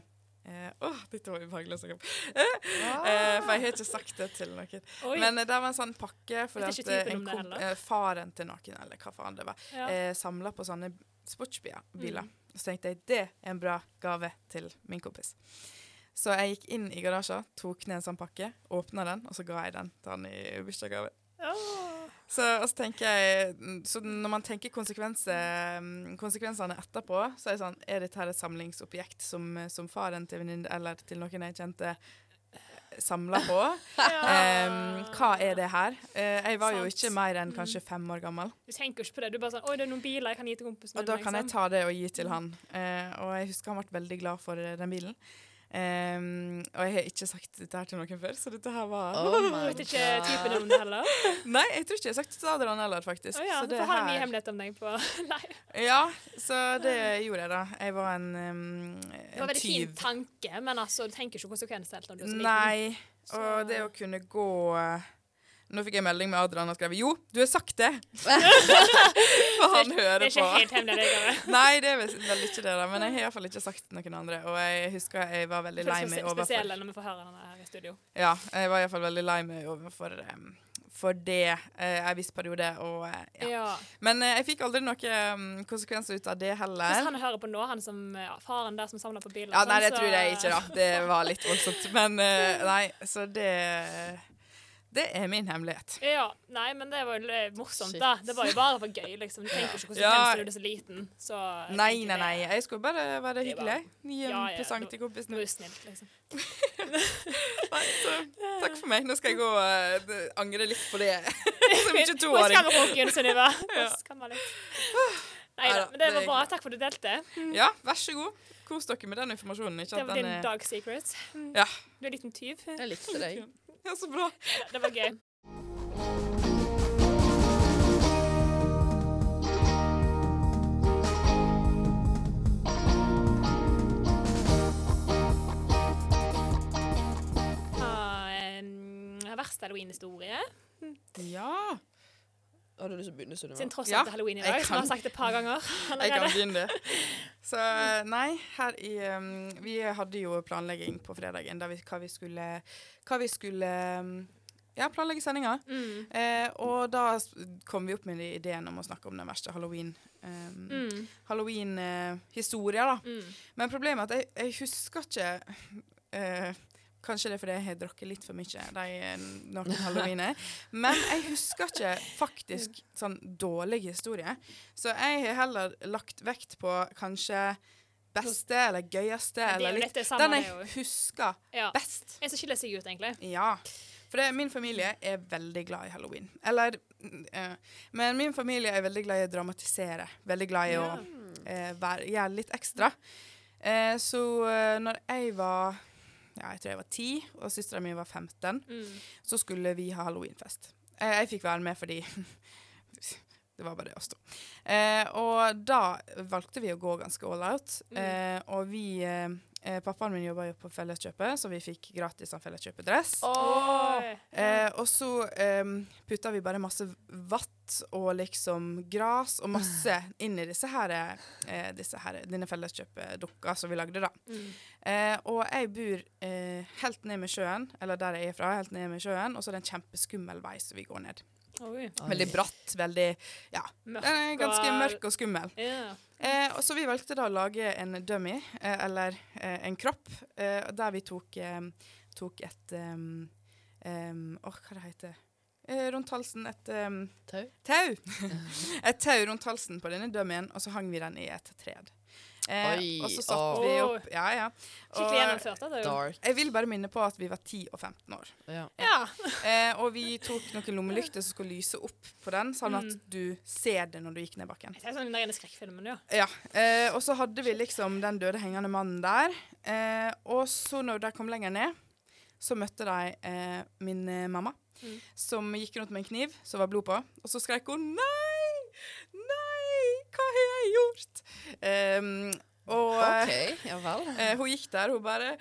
eh, Åh, dette var ubehagelig å snakke om. Eh, for jeg har ikke sagt det til noen. Oi. Men eh, det var en sånn pakke for Vet at ikke eh, typen en om det kom, heller. eh, faren til noen, eller hva faen det var, Ja. Mm. eh, samla på sånne sportsbiler. biler. Så tenkte jeg det er en bra gave til min kompis. Så jeg gikk inn i garasjen, tok ned en sånn pakke, åpna den, og så ga jeg den til han i bursdagsgave. Åh. Så, og så tenker jeg, mm, så når man tenker konsekvenser, konsekvensene etterpå, så er det sånn Er dette her et samlingsobjekt som, som faren til venninne eller til noen jeg kjente, samla på? Em, hva er det her? Eh, jeg var Sant. jo Mm. ikke mer enn kanskje fem år gammel. Du tenker jo ikke på det. Du er bare sånn Oi, det er noen biler jeg kan gi til kompisen Og min, da kan jeg liksom. ta det og gi til han. Eh, og jeg husker han ble veldig glad for eh, den bilen. Em, og jeg har ikke sagt dette her til noen før, så dette her var Oh my Vet ikke typen God. om det heller. Nei, jeg tror ikke jeg har sagt det til Adrian heller, faktisk. Å ja, så så det har jeg mye her- hemmelighet om deg på Nei. Ja, så det gjorde jeg da. Jeg var en, um, Det var en veldig fin tyv. tanke, men altså, du tenker ikke konsekvenser helt når du er så liten. Nei, Så- og det å kunne gå eh, Nå fikk jeg melding med Adrian og skrev Jo, du har sagt det! For han Det hører er på. ikke helt hemmelig, det gjør jeg. Nei, det er vel vel ikke det, da. Men jeg har iallfall ikke sagt det til noen andre. Og jeg husker jeg var veldig Det lei er meg så overfor spesielle når vi får høre den her i studio. Ja, jeg var iallfall veldig lei meg overfor um, for det eh, en viss periode. Og, eh, ja. Ja. Men eh, jeg fikk aldri noen um, konsekvenser ut av det Hvis heller. han hører på nå, han som ja, faren der som samler på biler Ja, og nei, sånn, det så- tror jeg ikke, da. Det var litt voldsomt. Men eh, nei, så det Det er min hemmelighet. Ja, nei, men det var jo litt morsomt, Shit. da. Det var jo bare for gøy, liksom. Du tenker ikke Ja. konsekvenser når du er så liten. Så jeg Nei, tenker nei, det- nei. Jeg skulle bare være Det er hyggelig. Gi en Ja, ja, presang det- til kompisen. Du er jo snill, liksom. Nei, så, takk for meg. Nå skal jeg gå og eh, angre litt på det som ikke Hun skal toåring. med runken, Sunniva. Hun skammer litt. Nei da, men det Neida, var det bra. gikk Takk for at du delte. Ja, vær så god. Kos dere med den informasjonen. Ikke Det at var den din er dark secret. Ja. Du er en liten tyv. Jeg likte deg. ja, så bra. Det var gøy. Ah, em, Verste halloween-historie. Ja. Har du lyst til å begynne, Siden Sunniva? tross Ja, alt er halloween i jeg dag, som jeg kan- har sagt et par ganger Jeg kan allerede. begynne det. Så nei, her i um, Vi hadde jo planlegging på fredagen der vi, hva vi skulle, hva vi skulle um, ja, planlegge sendinga. Mm. Eh, og da s- kom vi opp med ideen om å snakke om den verste halloween um, Mm. Halloween-historia, da. Mm. Men problemet er at jeg, jeg husker ikke eh, Kanskje det er fordi jeg har drukket litt for mye de eh, noen halloweener. Men jeg husker ikke faktisk sånn dårlig historie. Så jeg har heller lagt vekt på kanskje beste eller gøyeste Det er jo eller litt dette samme, Den det er jeg jo. husker Ja. best. En som skiller seg ut, egentlig. Ja. For det, min familie er veldig glad i halloween. Eller eh, Men min familie er veldig glad i å dramatisere. Veldig glad i å Ja. eh, være, gjøre litt ekstra. Eh, så eh, når jeg var ja, jeg tror jeg var ti, og søstera mi var 15, Mm. så skulle vi ha halloweenfest. Eh, jeg fikk være med fordi det var bare oss to. Eh, og da valgte vi å gå ganske all out. Eh, og vi eh, eh, Pappaen min jobba jo på Felleskjøpet, så vi fikk gratis sånn Felleskjøpet-dress. Oi. Eh, og så eh, putta vi bare masse vatt og liksom gras og masse Ah. inn i disse her, eh, disse her denne felleskjøpedukka som vi lagde, da. Mm. Eh, og jeg bor eh, helt ned med sjøen, eller der jeg er fra, helt ned med sjøen, og så er det en kjempeskummel vei som vi går ned. Oi. Veldig bratt, veldig Ja. Den er ganske mørk og skummel. Ja. Eh, og så vi valgte da å lage en dummy, eh, eller eh, en kropp, eh, der vi tok, eh, tok et um, um, Åh, hva det heter eh, Rundt halsen et em, Tau? Tau! et tau rundt halsen på denne dummyen, og så hang vi den i et tred. Eh, Oi, og så satte vi åh. opp Ja, ja. Skikkelig gjennomført. da, Det er jo. Dark. jeg vil bare minne på at vi var 10 og 15 år. Ja. Ja. Eh, og vi tok noen lommelykter som skulle lyse opp på den, sånn at Mm. du ser det når du gikk ned bakken. Det er sånn den rene skrekkfilmen, ja. Ja, eh, og så hadde vi liksom den døde hengende mannen der. Eh, og så når de kom lenger ned, så møtte de eh, min eh, mamma, Mm. som gikk rundt med en kniv som var blod på. Og så skrek hun 'nei! Nei! Hva har jeg gjort?' Em, og OK, ja vel. eh, hun gikk der, hun bare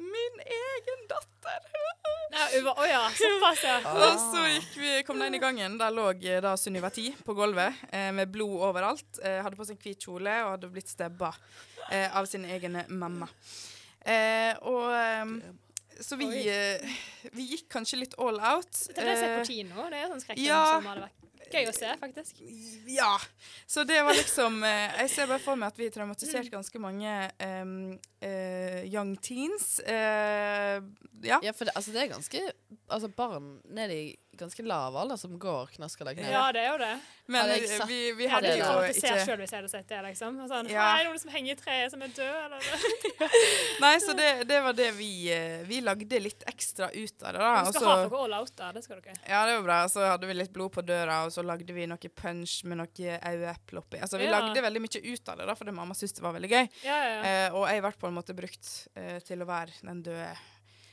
'min egen datter'. Nei, over, å ja, såpass, ja. Og så gikk vi, kom den inn i gangen. Der lå eh, da Sunniva 10 på gulvet eh, med blod overalt. Eh, hadde på seg en hvit kjole og hadde blitt stabba eh, av sin egen mamma. Eh, og eh, så vi, eh, vi gikk kanskje litt all out. Det er det jeg ser Eh, på kino. Det er sånn skrekkfilm ja. som hadde vært gøy å se, faktisk. ja. Så det var liksom eh, Jeg ser bare for meg at vi traumatiserte ganske mange em, eh, young teens. Eh, ja. Ja, for det, altså, det er ganske altså, barn ned i ganske lav alder som går knaskelag ned. Ja, det er jo det. Men Hadde jeg eh, satt- vi, vi Jeg hadde hadde det ikke jo traumatisert ikke selv hvis jeg hadde sett det, liksom. Og Sånn, Ja. «Hei, Er det noen som henger i treet, som er død, eller? Nei, så det, det var det vi eh, Vi lagde litt ekstra ut av det, da. Du og skal så- ha noe all out, da. Det skal dere. Ja, det var bra. Så hadde vi litt blod på døra, og så lagde vi noe punch med noe aueeple oppi. Altså, vi Ja. lagde veldig mye ut av det, da, fordi mamma syntes det var veldig gøy. Ja, ja. Eh, og jeg ble på en måte brukt eh, til å være den døde.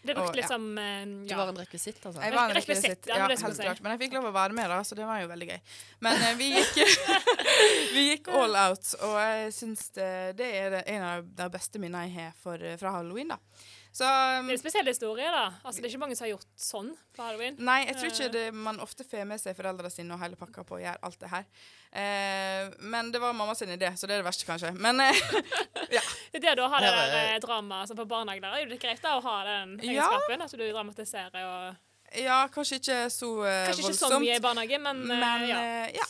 Det er og, brukt ja. litt som eh, Du ja. var en rekvisitt, altså. Jeg var en Rekvisitt, rekvisitt. ja, Ja, det skulle helt jeg si. klart. Men jeg fikk lov å være med, da, så det var jo veldig gøy. Men eh, vi, gikk, vi gikk all out, og jeg syns det, det er det- en av de beste minnene jeg har for, eh, fra halloween, da. Så um, Det er en spesiell historie, da. Altså, det er ikke mange som har gjort sånn på halloween. Nei, jeg tror Eh. ikke det, man ofte får med seg foreldrene sine og hele pakka på å gjøre alt det her. Eh, men det var mamma sin idé, så det er det verste, kanskje. Men eh, Det er det å ha Ja, det der ja, eh, dramaet som på barnehage der. Det er jo litt greit da å ha den Ja. egenskapen, at du dramatiserer og ja, kanskje ikke så eh, Kanskje ikke så voldsomt. mye i barnehage, men, eh, men ja. Eh. eh, ja.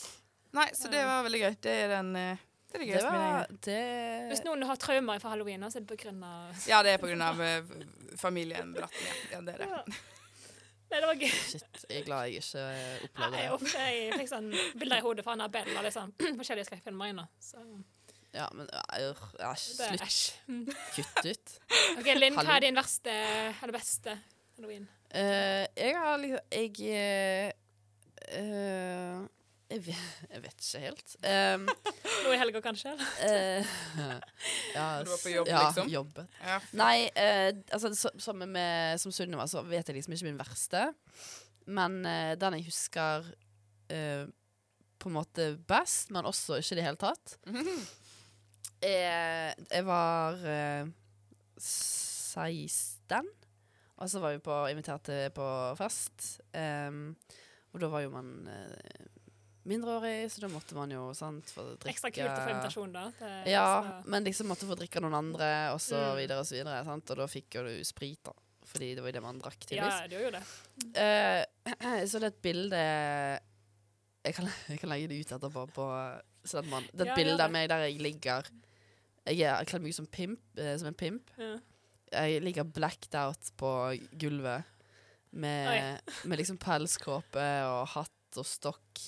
Nei, så det var veldig gøy. Det er den eh, det er det Det gøyeste minnet jeg var har. Hvis det noen har traumer fra halloween, så er det på grunn av Ja, det er på grunn av eh, familien Bratten. Ja. ja, det er det. Nei, det var gøy. Shit, jeg er glad jeg ikke eh, opplevde Nei, det. uff, jeg fikk sånn bilder i hodet fra Annabelle og liksom forskjellige skrekkfilmer inne. Så Ja, men ør, æsj, det er slutt. æsj. Mm. Kutt ut. OK, Linn, hva Hallo. er din verste eller beste halloween? Eh, jeg har liksom Jeg eh, eh, Jeg vet, jeg vet ikke helt. Ehm, Nå i helga, kanskje? eller? eh, ja, Du var på jobb, ja, liksom? jobbet. Ja. Nei, eh, altså, så, samme med, som Sunniva, så vet jeg liksom ikke min verste. Men eh, den jeg husker eh, på en måte best, men også ikke i det hele tatt eh, Jeg var eh, 16, og så var vi på, invitert til på fest. ehm, og da var jo man eh, mindreårig, så da måtte man jo sant, få drikke Ekstra kult å få invitasjon, da. Det er ja, ekstra- men liksom måtte få drikke av noen andre, og så Mm. videre og så videre. Sant? Og da fikk jo du sprit, da. Fordi det var jo det man drakk, ja, tydeligvis. det gjør jo det. Eh, så det er et bilde jeg kan, jeg kan legge det ut etterpå, på, sånn at man, det er et Ja, gjør bilde det. av meg der jeg ligger Jeg er kledd meg ut som, pimp, eh, som en pimp. Ja. Jeg ligger blacked out på gulvet med, med liksom pelskåpe og hatt og stokk.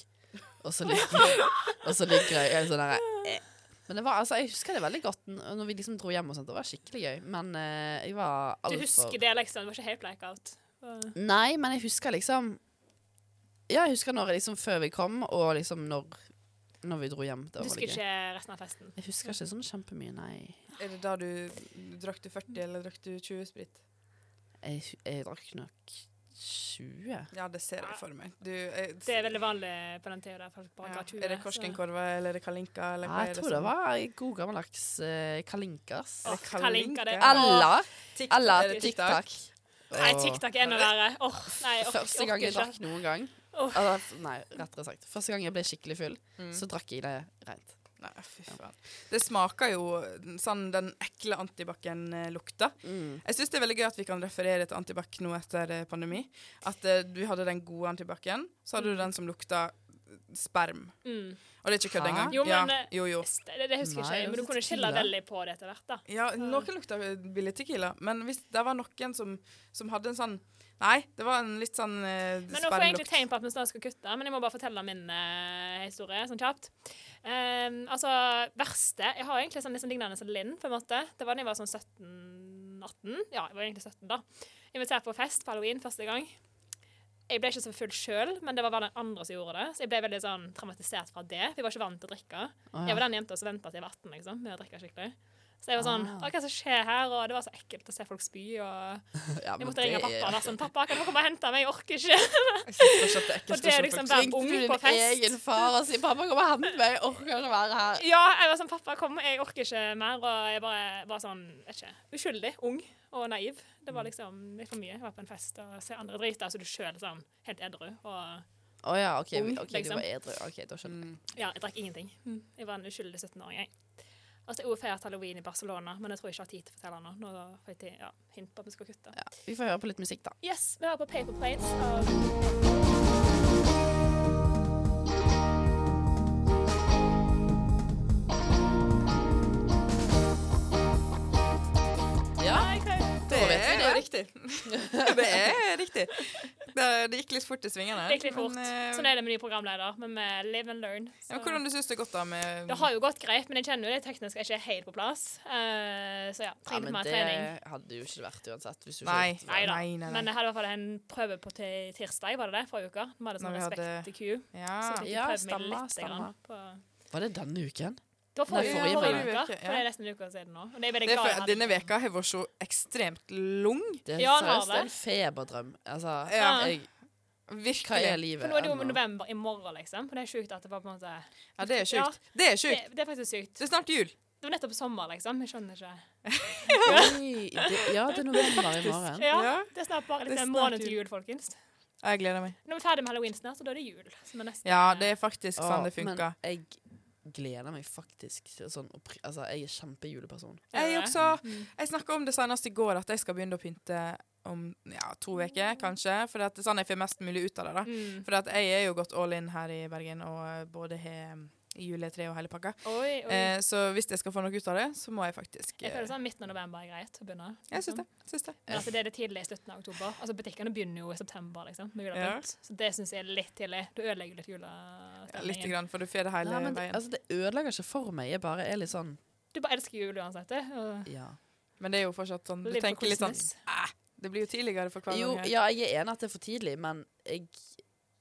Og så ligger, og så ligger jeg helt sånn der eh. Men det var, altså, jeg husker det veldig godt n- når vi liksom dro hjem og sånt. Det var skikkelig gøy. Men eh, jeg var Du altfor husker det, liksom. Det var ikke helt blackout. Nei, men jeg husker liksom Ja, jeg husker når jeg liksom før vi kom, og liksom når, når vi dro hjem. Det Du var husker veldig gøy. ikke resten av festen. Jeg husker ikke sånn kjempemye, nei. Er det da du drakk du 40, eller drakk du 20 sprit? Jeg, hu- jeg drakk nok 20. Ja, det ser jeg for meg. Du, jeg, Det er veldig vanlig på den tida der folk bare ja. ga 20. Er det så- Korskenkorva eller er det Kalinka? Eller Nei, hva er jeg tror det som- var god gammeldags eh, kalinkas. sånn Åh, Kalinka. Kalinka, det. Eller, TikTok- er eller det TikTok. Nei, Åh. TikTok er enda verre. Åh, nei, jeg ork- Første gang jeg orker drakk noen gang Åh. Mm. altså, Nei, rettere sagt. Første gang jeg ble skikkelig full, så drakk jeg det rent. Nei, fy faen. Det smaker jo sånn den ekle antibac-lukta. Mm. Jeg syns det er veldig gøy at vi kan referere til antibac nå etter eh, pandemi. At eh, du hadde den gode antibacen, så hadde du den som lukta eh, sperm. Mm. Og det er ikke kødd Hæ? engang. Jo, men, ja, eh, jo, jo. Det, det- det husker Nei, jeg ikke, men altså, du kunne skille tequila. veldig på det etter hvert. da. Ja, noen lukta billig tequila, men hvis det var noen som, som hadde en sånn Nei, det var en litt sånn eh, Men nå får jeg egentlig spermlukt. tegn på at vi snart skal kutte, men jeg må bare fortelle min eh, historie sånn kjapt. Ehm, altså, verste Jeg har egentlig sånn, litt sånn lignende som Linn, på en måte. Det var da jeg var sånn 17-18. Ja, jeg var egentlig 17 da. Invitert på fest på halloween første gang. Jeg ble ikke så full sjøl, men det var bare den andre som gjorde det. Så jeg ble veldig sånn traumatisert fra det. Vi var ikke vant til å drikke. Åh, Jeg ja. var den jenta som venta til jeg var 18 liksom, med å drikke skikkelig. Så jeg var sånn Ah. Å, hva som skjer her? Og det var så ekkelt å se folk spy. Og Ja, jeg men måtte det ringe er- pappa og være sånn Pappa, kan du komme og hente meg? Jeg orker ikke. Jeg synes fortsatt det er ekkelt Og det er å se liksom folk- bare- Ringte ung du på din fest. egen far og si 'pappa, kom og hent meg, jeg orker ikke være her'? Ja, jeg var sånn, pappa, kom, jeg orker ikke mer. Og jeg bare var sånn, vet ikke, uskyldig, ung og naiv. Det Mm. var liksom litt for mye. Jeg var på en fest og se andre drite, så du sjøl sånn helt edru. Og Å ja, OK, vi- Ung, ok, du liksom. var Mm. edru. OK, da skjønner jeg. ja, jeg drakk ingenting. Mm. Jeg var en uskyldig 17-åring, jeg. Og så har jeg også feiret halloween i Barcelona, men jeg tror jeg ikke har tid til å fortelle nå. Nå får jeg tid, ja, hint på at vi skal kutte. Ja. Vi får høre på litt musikk, da. Yes, vi hører på Paper Plates. Og Ja, Nei, hva- Det er jo riktig. det er riktig. Det, det gikk litt fort i svingene. det gikk litt fort. Men, eh, Sånn er det med ny programleder, men vi live and learn. ja, men så- hvordan du syns det er godt da med Det har jo gått greit, men jeg kjenner jo det teknisk er ikke helt på plass. Eh, så ja, ja trenger litt men mer det trening. hadde jo ikke det vært uansett. Hvis du ikke Nei. Nei da. Nei, nei, nei. Men jeg hadde i hvert fall en prøve på ti- tirsdag, var det det? Forrige uke. Vi hadde sånn Når vi respekt hadde- Ah, til Q. Ja. Så fikk jeg Ja, prøvd meg stemmer, lite grann stemmer. på Var det denne uken? Det var forrige, Nei, forrige forrige, uke, uke. ja. For det er nesten en uke siden nå. Og det er veldig Det er glad jeg for, hadde denne det. veka har vært så ekstremt lang. Det er Ja, den har seriøst det er en det. feberdrøm. Altså, Ja. jeg, hva er Virkelig. livet? For nå er det jo ennå? november i morgen, liksom. Og det er sjukt at det var på en måte Ja, det er sjukt. Det er det, sjukt. det er faktisk sykt. Det er snart jul. Det var nettopp sommer, liksom. Jeg skjønner ikke. Oi, det, ja, det er november i morgen. Ja, Ja. Det er snart bare Det litt er en snart måned til jul. jul, folkens. Jeg gleder meg. Nå er vi ferdig med halloween snart, og da er det jul. Som er nesten, Ja, det er faktisk sånn det Å, men funker. jeg gleder meg faktisk til sånn oppri- Altså, jeg er kjempejuleperson. Jeg det? også. Jeg snakka om det senest i går, at jeg skal begynne å pynte om ja, to uker, kanskje. For at det er sånn jeg får mest mulig ut av det. da. Mm. For at jeg er jo gått all in her i Bergen, og eh, både har juletre og hele pakka. Oi, oi. Eh, så hvis jeg skal få noe ut av det, så må jeg faktisk Jeg eh, føler sånn Midten av november er greit å begynne. Jeg syns liksom. det. Syns det. Men altså, det er det tidlig i slutten av oktober. Altså, Butikkene begynner jo i september. liksom, med julepynt. Så det syns jeg er litt tidlig. Du ødelegger litt Ja, litt, julestemningen. grann, for du får det hele Nei, men det, veien. altså, det ødelegger ikke for meg. Jeg bare er litt sånn du bare elsker jul uansett. det. Og Ja. Men det er jo fortsatt sånn Du live for tenker litt sånn Christmas. Det blir jo tidligere for hver Jo, gang. her. ja, jeg er enig at det er for tidlig, men jeg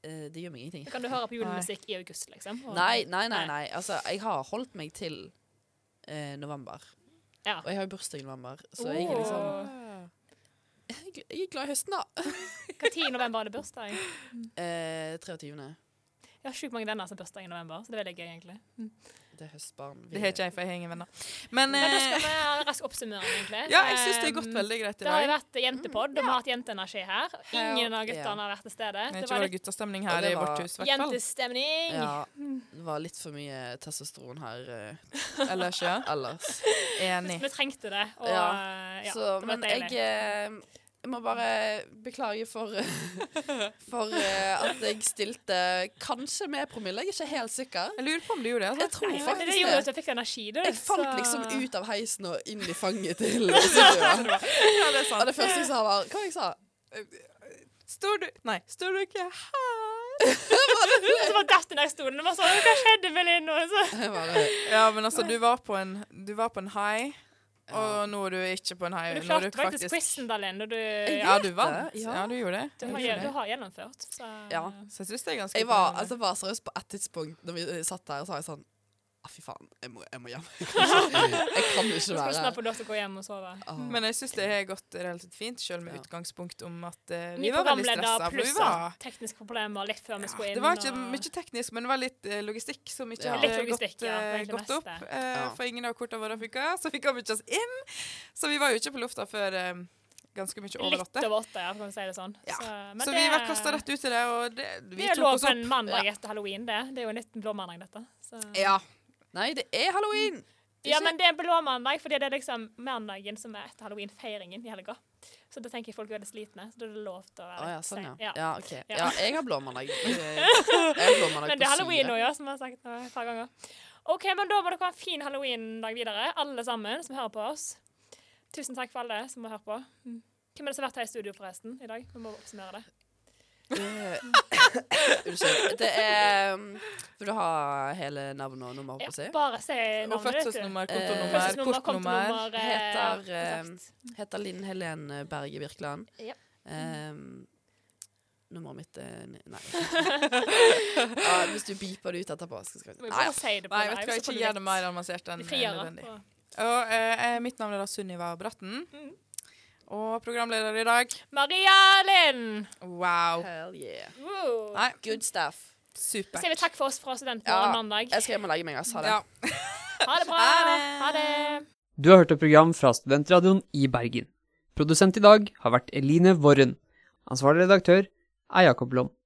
eh, det gjør meg ingenting. Kan du høre på julemusikk i august, liksom? Og- Nei, nei, nei. nei. Altså, jeg har holdt meg til eh, november. Ja. Og jeg har jo bursdag i november, så jeg er sånn. liksom jeg jeg er glad i høsten, da. Hva tid i november er det bursdag? Eh, 23. Jeg har sjukt mange venner som har bursdag i november, så det er veldig gøy, egentlig. Det er høstbarn. Vi- Det har ikke jeg, for jeg henger venner. Men, Men da eh, skal vi ha en rask oppsummering, egentlig. ja, jeg syns det har gått Um, veldig Mm, greit i Det har jo dag. vært jentepod, og vi har hatt jenteenergi her. Ingen av guttene Ja. har vært til stede. Det er Det ikke var bare litt guttastemning Og her det i vårt var- hus, i hvert fall. jentestemning. Ja, det var litt for mye testosteron her eh, Ellers, ja. ellers. Enig. Vi trengte det. Og, Ja. eh, ja, så, det var men jeg, deilig. eh, jeg må bare beklage for, for eh, at jeg stilte kanskje med promille. Jeg er ikke helt sikker. Jeg lurer på om du gjorde det. Jeg Altså. tror Ja, men faktisk det gjorde jo at det. jeg fikk energi, du. Jeg falt så- liksom ut av heisen og inn i fanget til Sylvia. Ja, det er Og sant. det første jeg sa, var Hva jeg sa sånn, Står du Nei, står du ikke her? Så bare datt den der stolen og var sånn Hva skjedde med Linn? Og så jeg? Bare, Ja, men altså, du var på en, du var på en high, og nå er du ikke på en high. Men du Nå er klarte faktisk quizen, da, Linn. Og du, ja, Ja, du vant. Ja. Ja, du gjorde det. du, har, Jeg gjorde du det. har gjennomført. Så Ja. Så jeg syns det er ganske jeg var, imponerende. altså, var seriøst på et tidspunkt Når vi eh, satt der, så var jeg sånn ah, Fy faen, jeg må, jeg må hjem. Jeg kan jo Så ikke skal du være snart her. få lov til å gå hjem og sove. Ah. Men jeg syns det har gått relativt fint, selv med Ja. utgangspunkt om at eh, vi Ny var veldig programleder stressa. for Vi pluss sånn var tekniske problemer litt før vi skulle Ja, inn. det var ikke og- mye teknisk, men det var litt eh, logistikk som ikke Ja. hadde Litt logistikk, gått, ja, eh, på egentlig gått meste. opp. eh, Ja. For ingen av kortene våre funka, så vi kom ikke oss inn. Så vi var jo ikke på lufta før eh, ganske mye over Litt åtte. over åtte, ja, for å si det sånn. Ja. Så, men Så vi det- ble kasta rett ut i det, og det, vi det er tok lov oss på opp. en mandag etter halloween, det. Det er jo en liten blåmandag, dette. Så. Ja. Nei, det er halloween! Ja, men det er en blåmandag, fordi det er liksom mandagen som er etter halloween-feiringen i helga. Så da tenker jeg folk er veldig slitne, så da er det lov til å Å være ja, sånn, ja. Ja. Ja, ok. Ja. ja jeg har blåmandag. Jeg har blåmandag Men det på er halloween syre. nå, ja, som jeg har sagt eh, et par ganger. OK, men da må dere ha en fin halloween-dag videre, alle sammen som hører på oss. Tusen takk for alle som har hørt på. Mm. Hvem er det som har vært her i studio forresten i dag? Vi må oppsummere det. Eh, Unnskyld. Det er um, Vil du ha hele navnet og nummeret, Ja, på seg? bare si Og navnet, vet du. fødselsnummer, Eh, kontonummer, Fødselsnummer, kortnummer. kontonummer, eh, Heter, eh, kontakt. Heter Linn Helen Berge Birkeland. Ja. Um, nummeret mitt er n- Nei. ja, hvis du beeper det ut etterpå, skal skal- Vi Nei, må si det på Nei, live, vet du så hva, får ikke du gjør litt det mer avansert enn eh, friere nødvendig. på- Og eh, mitt navn er da Sunniva Bratten. Mm. Og programleder i dag Maria Lind! Wow. Hell yeah. Wow. Nei, Good stuff. Så supert. sier vi takk for oss fra Studentmorgen Ja. mandag. Jeg skal hjem og legge meg. altså. ass. Ha det. Ja. Ha det bra! Ha det. Ha det. Du har hørt et program fra Studentradioen i Bergen. Produsent i dag har vært Eline Worren. Ansvarlig redaktør er Jakob Lom.